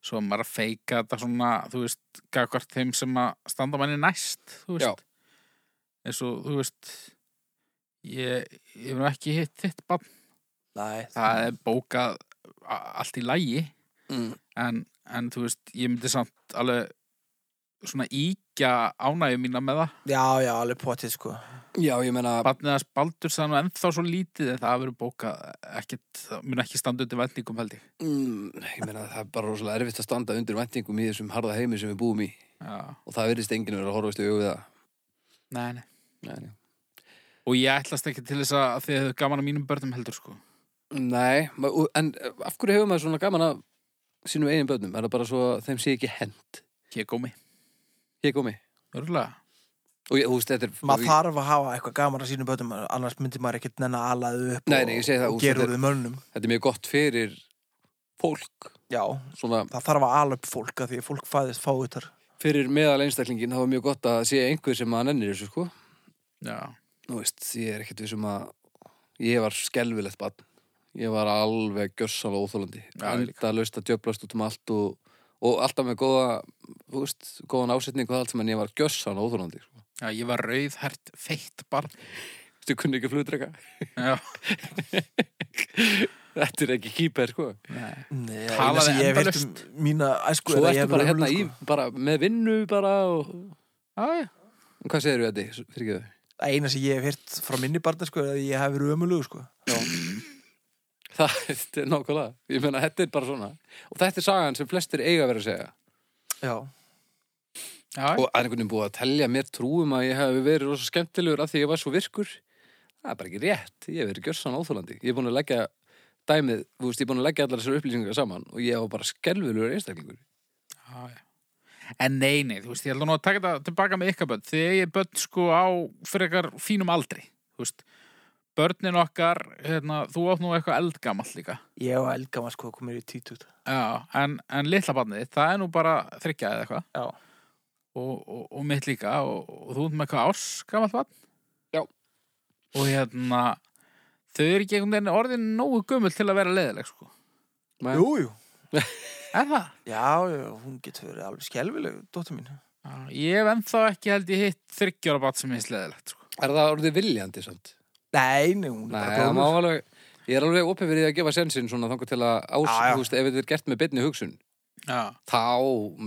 S3: svo er maður að feika þetta svona, þú veist, gagvart þeim sem að standa manni næst, þú
S1: Já.
S3: veist. Eins og, þú veist, ég, ég hef nú ekki hitt þitt bann.
S2: Nei,
S3: Það er bókað a- allt í lægi,
S1: sko. mm.
S3: en, en þú veist, ég myndi samt alveg svona íkja ánægjum mína með það.
S2: já, já, alveg potið sko
S1: já, ég meina
S3: Bannið að spaldur það er nú ennþá svo lítið en það verður bókað ekkit, það mun ekki standa undir vendingum held ég.
S1: mm, ég meina það er bara rosalega erfitt að standa undir vendingum í þessum harða heimi sem við búum í
S3: Já.
S1: og það virðist enginn vera að horfast í auðvitað
S3: Nei, nei.
S1: nei, nei.
S3: Og ég ætlast ekki til þess að þið hefur gaman að mínum börnum heldur, sko.
S1: nei, ma- og- en af hverju hefur maður svona gaman að sínum eigin börnum, er það bara svo að þeim sé ekki hend
S3: Ég er gómi.
S1: ég komi
S3: Örgulega.
S1: og ég, þú veist, þetta er
S2: maður þarf að hafa eitthvað gaman að sínum bötum annars myndir maður ekkert nenn að ala þau upp
S1: Nei, nei, ég segi það,
S2: og,
S1: úst,
S2: og gera
S1: þetta
S2: úr þau mönnum
S1: þetta er mjög gott fyrir fólk
S2: já,
S1: svona
S2: það þarf að ala upp fólk að því að fólk fæðist fáutar
S1: fyrir meðal einstaklingin þá er mjög gott að sé einhver sem að nennir þessu sko
S3: Já.
S1: Nú veist, ég er ekkert vissum að ég var skelfilegt barn ég var alveg gjössal og óþólandi
S3: Já, ég líka.
S1: enda laust að djöblast út um allt og, og alltaf með góða þú veist, góðan ásetning og allt sem en ég var gjössal og óþólandi sko.
S3: Já, ég var rauðhært feitt barn.
S1: Þú kunni ekki flutreika
S3: Já.
S1: (laughs) Þetta er ekki kýper sko
S3: Nei.
S2: Nei,
S3: Talaði
S2: eina sem ég hef heyrt
S3: endalaust.
S2: um mína æsku
S1: Svo
S2: er að
S1: ertu
S2: ég hef
S1: bara
S2: verið
S1: hérna
S2: ömurleg,
S1: í,
S2: sko.
S1: bara með vinnu bara og
S3: Já, já.
S1: Hvað segirðu þetta? Fyrir ekki
S2: Það eina sem ég hef heyrt frá minni barna sko, er að ég hef verið ömulug sko.
S1: (laughs) Það þetta er nákvæmlega Ég meina, þetta er bara svona Og þetta er sagan sem flestir eiga að vera að segja
S2: já,
S3: Já,
S1: og að einhvern veginn búið að telja mér trúum að ég hef verið rosa skemmtilegur að því ég var svo virkur það er bara ekki rétt, ég hef verið gjörsan áþólandi ég er búin að leggja dæmið þú veist, ég er búin að leggja allar þessar upplýsingar saman og ég var bara skelfilegur einstaklingur
S3: Já, já. En nei, nei, þú veist, ég held að nú að taka þetta tilbaka með ykkar börn. Þið eigið börn sko á frekar fínum aldri, þú veist. Börnin okkar, hérna, þú átt nú eitthvað eldgamall líka.
S2: ég og Elga var sko komin í títút
S3: Já, en, en litla barnið, þitt, það er nú bara þryggja eða eitthvað.
S2: já,
S3: Og, og, og mitt líka, og, og þú ert með eitthvað árs gamall barn.
S1: Já.
S3: Og hérna, þau eru ekki einhvern veginn orðin nógu gummul til að vera leiðileg, sko.
S1: Men,
S2: jú, jú
S3: Er það?
S2: já, já, hún getur verið alveg skelvileg dóttir mín,
S3: Já, ég hef ennþá ekki held ég hitt þryggjára barn sem hins leiðilegt, sko.
S1: er það orðið viljandi samt?
S2: nei, nei, hún er
S1: Nei,
S2: bara
S1: það má
S2: blómur
S1: alveg ég er alveg opið fyrir því að gefa sensin svona þangur til að ás,
S2: Já, já.
S1: þú veist, ef þetta er gert með beinni hugsun
S3: Já.
S1: þá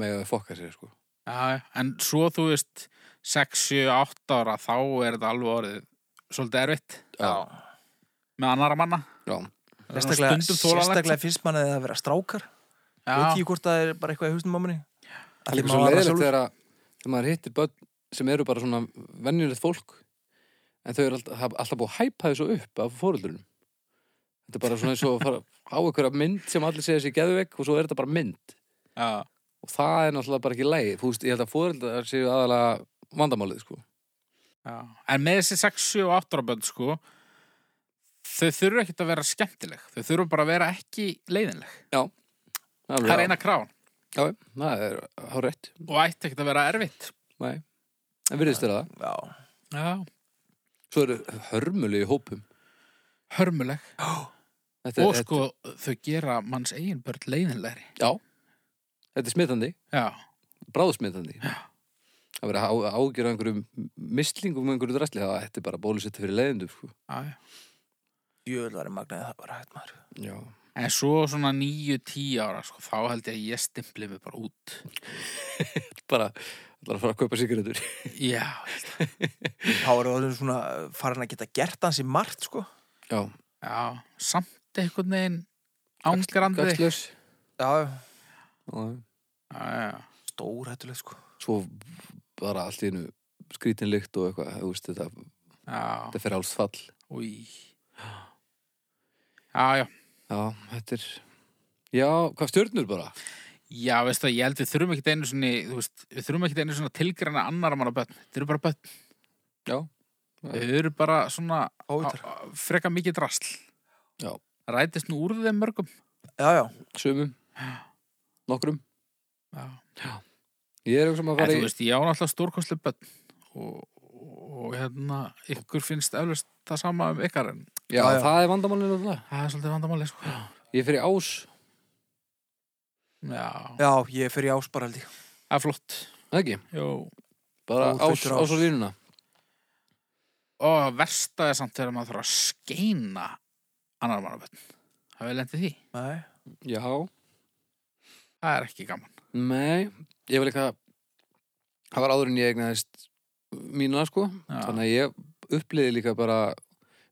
S1: með fokka sér sko
S3: Já, en svo þú veist 6, 7, 8 ára þá er þetta alveg orðið svolítið erfitt
S1: Já,
S3: með annara manna
S1: já,
S3: Það er svona
S2: sérstaklega,
S3: stundum þolanlegt.
S2: sérstaklega finnst manni að vera strákar veit
S3: Já,
S2: ekki hvort það er bara eitthvað í húsnum á manni
S1: Það er líka svo leiðilegt þegar að þegar maður hittir börn sem eru bara svona venjulegt fólk en þau eru alltaf, hafa alltaf búið að hæpa þessu upp af fóruldurinn Þetta er bara svona eins og að fara á einhverja mynd sem allir segja sér geðveik og svo er þetta bara mynd
S3: já,
S1: og það er náttúrulega bara ekki lægi Þú veist, ég held að fóruldar séu aðalega vandamálið sko
S3: já En með þessi 6, 7 og 8 ára bönn sko þau þurfu ekkert að vera skemmtileg þau þurfu bara að vera ekki leiðinleg Það er eina krán
S1: Já, já, það er hárætt
S3: og ætti ekkert að vera erfitt
S1: Nei, en virðist þér það
S2: já,
S3: Já,
S1: Svo eru hörmulegi hópum
S3: hörmuleg
S1: þetta, er-
S3: Og sko þau gera manns eigin börn leiðinlegri
S1: þetta, Já, þetta er smitandi
S3: Já,
S1: bráðsmitandi að vera að ágjöra einhverjum mislingum einhverju drastli, það þetta er bara bólusetta fyrir leiðindum sko.
S3: já, já
S2: jöðlar er magnaðið það bara hægt maður
S1: já.
S3: En svo svona 9-10 ára sko, þá held ég að ég stimpli mig bara út
S1: bara allar að fara að kaupa sigaretur
S3: Já,
S2: þá eru orðin svona eh, farin að geta gert hans í margt sko
S1: já,
S3: Já, samt einhvern veginn ángrandi
S1: gagslaus
S2: já,
S1: Já,
S2: stór hættuleg sko
S1: svo bara allt í einu skrítinlykt og eitthvað þú veist, þetta,
S3: Já,
S1: þetta fer alls fall
S3: új Já, já,
S1: já, þetta er já, hvað stjörnur bara
S3: já, veistu það, ég held við þurfum ekkit einu svona, þú veist, við þurfum ekkit einu svona tilgræna annara manna börn, þau eru bara börn
S1: já,
S3: þau eru bara svona
S2: Fávitar.
S3: á- á- freka mikið drasl
S1: Já.
S3: Rætist nú úr þeim mörgum
S2: já, já,
S1: sumum nokkrum,
S3: Já,
S1: ég er eitthvað sem að
S3: en
S1: fara
S3: þú
S1: í
S3: veist, ég á náttúrulega stórkostlega börn og, og hérna, ykkur finnst eflust það sama um ykkar en
S1: já,
S2: Já, já.
S1: það er vandamálinu alltaf
S3: það er svolítið vandamáli, sko
S1: ég fer í ás,
S3: Já,
S2: já, ég fer í ásbaraldi
S3: það er flott
S1: það ekki
S3: Jó
S1: bara
S2: Ó,
S1: ás,
S2: feitur
S1: ás
S2: ás.
S1: og línuna
S3: Og versta er samt þegar maður þarf að skeina annar mannabötn. Það við lendið því.
S2: nei,
S1: já,
S3: Það er ekki gaman.
S1: Nei, ég var líka það var áður en ég eignaðist mína sko,
S3: Já.
S1: þannig að ég uppliði líka bara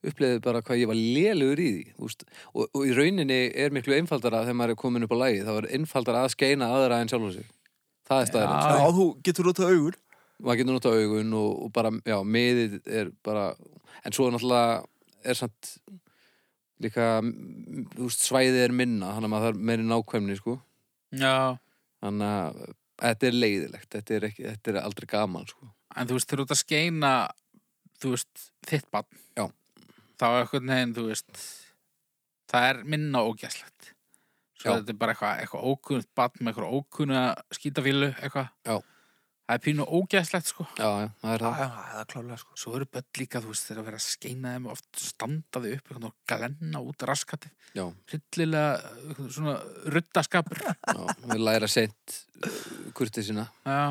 S1: uppliði bara hvað ég var lélugur í því úst. Og, og í rauninni er miklu einfaldara þegar maður er komin upp á lagi, þá er einfaldara að skeina aðra en sjálfa sig það er staðurinn
S3: Já.
S1: sko.
S2: Já, þú getur notað augur
S1: maður getur notað augun og, og bara, já, miðið er bara en svo er náttúrulega er samt líka m- þú veist, svæðið er minna þannig að maður þarf meiri nákvæmni sko.
S3: Já.
S1: þannig að þetta er leiðilegt þetta er, ekki, þetta er aldrei gaman sko.
S3: En þú veist, þegar þú ert að skeina, þú veist, þitt barn.
S1: Já.
S3: Þá er eitthvað neginn, þú veist, það er minna ógæslegt. Svo
S1: Já.
S3: þetta er bara eitthvað, eitthvað ókunnt barn með eitthvað ókunna skítafílu, eitthvað.
S1: Já.
S3: Það er pínu ógæslegt, sko.
S1: já, já, það er
S2: Já,
S1: það
S2: já, það er klálega sko
S3: Svo eru börn líka, þú veist, þegar að vera að skeina þeim oft standaði upp eitthvað og galenna út raskati.
S1: já,
S3: Hryllilega, eitthvað svona, ruttaskapur.
S1: já, við læra uh, sent kurtið sína
S3: Já.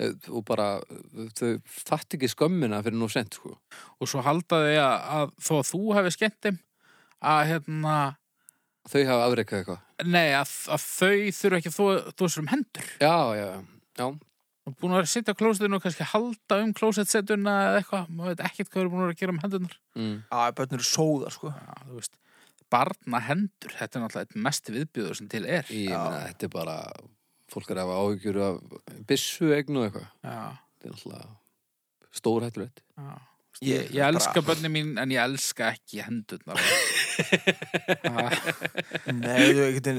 S1: Eh, og bara, eh, þau fatt ekki skömmina fyrir nú sent sko.
S3: Og svo haldaði að, að þó að þú hefði skemmt þeim, að hérna,
S1: þau hafa afreikað eitthvað
S3: Nei, að, að þau þurfa ekki að þú, þú sér um hendur.
S1: já, já, já, já,
S3: Og búin að vera að sitja á klósettinu og kannski halda um klósettsetuna eða eitthvað. Maður veit ekkert hvað eru búin að vera að gera um hendurnar.
S1: mm,
S2: Já, börn eru sóðar sko
S3: (laughs) Já, þú veist, barna hendur, þetta er náttúrulega eitt mest viðbjöður sem til er.
S1: ég meina, þetta er bara fólk er að hafa áhyggjur af byssu eignu eitthvað
S3: Já,
S1: þetta er alltaf (laughs) stórhættulegt
S3: já. Þú veist, Ég, ég elska börnin mín en ég elska ekki hendurnar. Ah,
S2: Nei, þú einhvern veginn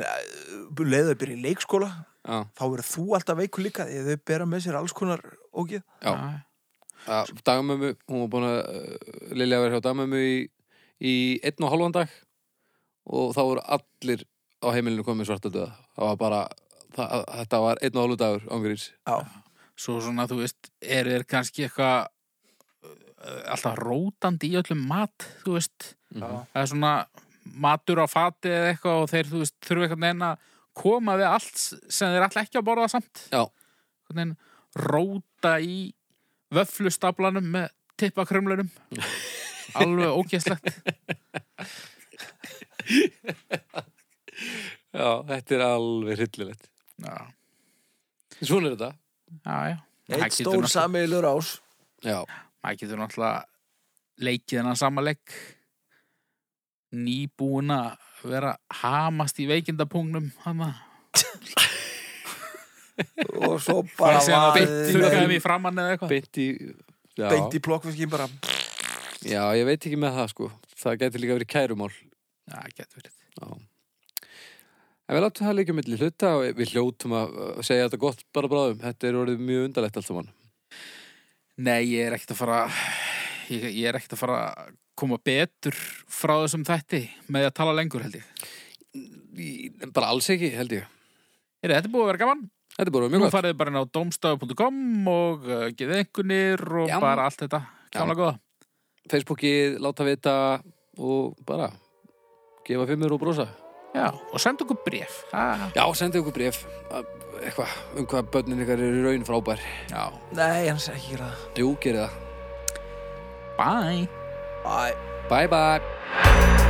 S2: Leðu að byrja í leikskóla
S1: já,
S2: Þá verður þú alltaf veikur líka Því að þau bera með sér alls konar ógið
S1: Já. já, dagmömmu hún var búin að uh, Lilja verið hjá dagmömmu í, í einn og halvan dag og þá voru allir á heimilinu komið svarta döða það var bara, það, þetta var einn og halvu dagur ángurins,
S2: Já,
S3: Mhm. Svo svona, þú veist, er þeir kannski eitthvað uh, alltaf rótandi í öllum mat, þú veist.
S1: mm
S2: já,
S3: það er svona matur á fati eða eitthvað og þeir þú veist, þurfa einhvern veginn að koma við allt sem þeir ætla ekki að borða samt
S1: Já.
S3: einhvern veginn róta í vöflustablanum með tippakrumlunum
S2: (laughs)
S3: alveg ógæslegt
S1: já, þetta er alveg hryllilegt
S3: já,
S1: svona er þetta
S3: já, já Maður
S2: Eitt
S3: getur
S2: stór
S3: náttúrulega-
S2: sammeilur ás
S1: já,
S3: maður getur náttúrulega leikið hennan sama leik nýbúin að vera hamast í veikindapungnum hann að
S2: Og svo bara
S3: fara síðan að
S2: vaðið
S3: beint
S2: í-
S3: þurrkaðum í framann eða eitthvað
S1: beint í já,
S2: Beint í plokkverkin bara
S1: já, ég veit ekki með það sko það gæti líka verið kærumál
S3: já, getur verið
S1: Já. En við látum það líka milli hluta og við hljótum að að segja þetta gott bara bráðum. Þetta er orðið mjög undarlegt allt saman.
S3: Nei, ég er ekkert að fara ég, ég er ekkert að fara að koma betur frá þessum þætti með að tala lengur held ég.
S1: Í- Bara alls ekki, held ég.
S3: Er þetta er búið að vera gaman?
S1: Þetta er bara
S3: Nú
S1: mjög gott.
S3: farið bara inn á domstafu.com og uh, geðið einhvernir og
S1: Já.
S3: bara allt þetta. Gamla góða.
S1: Facebookið, láta vita og bara gefa fimmur og brosa.
S3: Já, og senda okkur bref. Ha.
S1: Já, sendið okkur bref. að- Eitthvað, um hvað börnin ykkar eru í raun frábær.
S3: Já.
S2: Nei, hann sé ekki gera það
S1: Jú, gerið það.
S3: Bye.
S2: Æ
S1: Bye bye.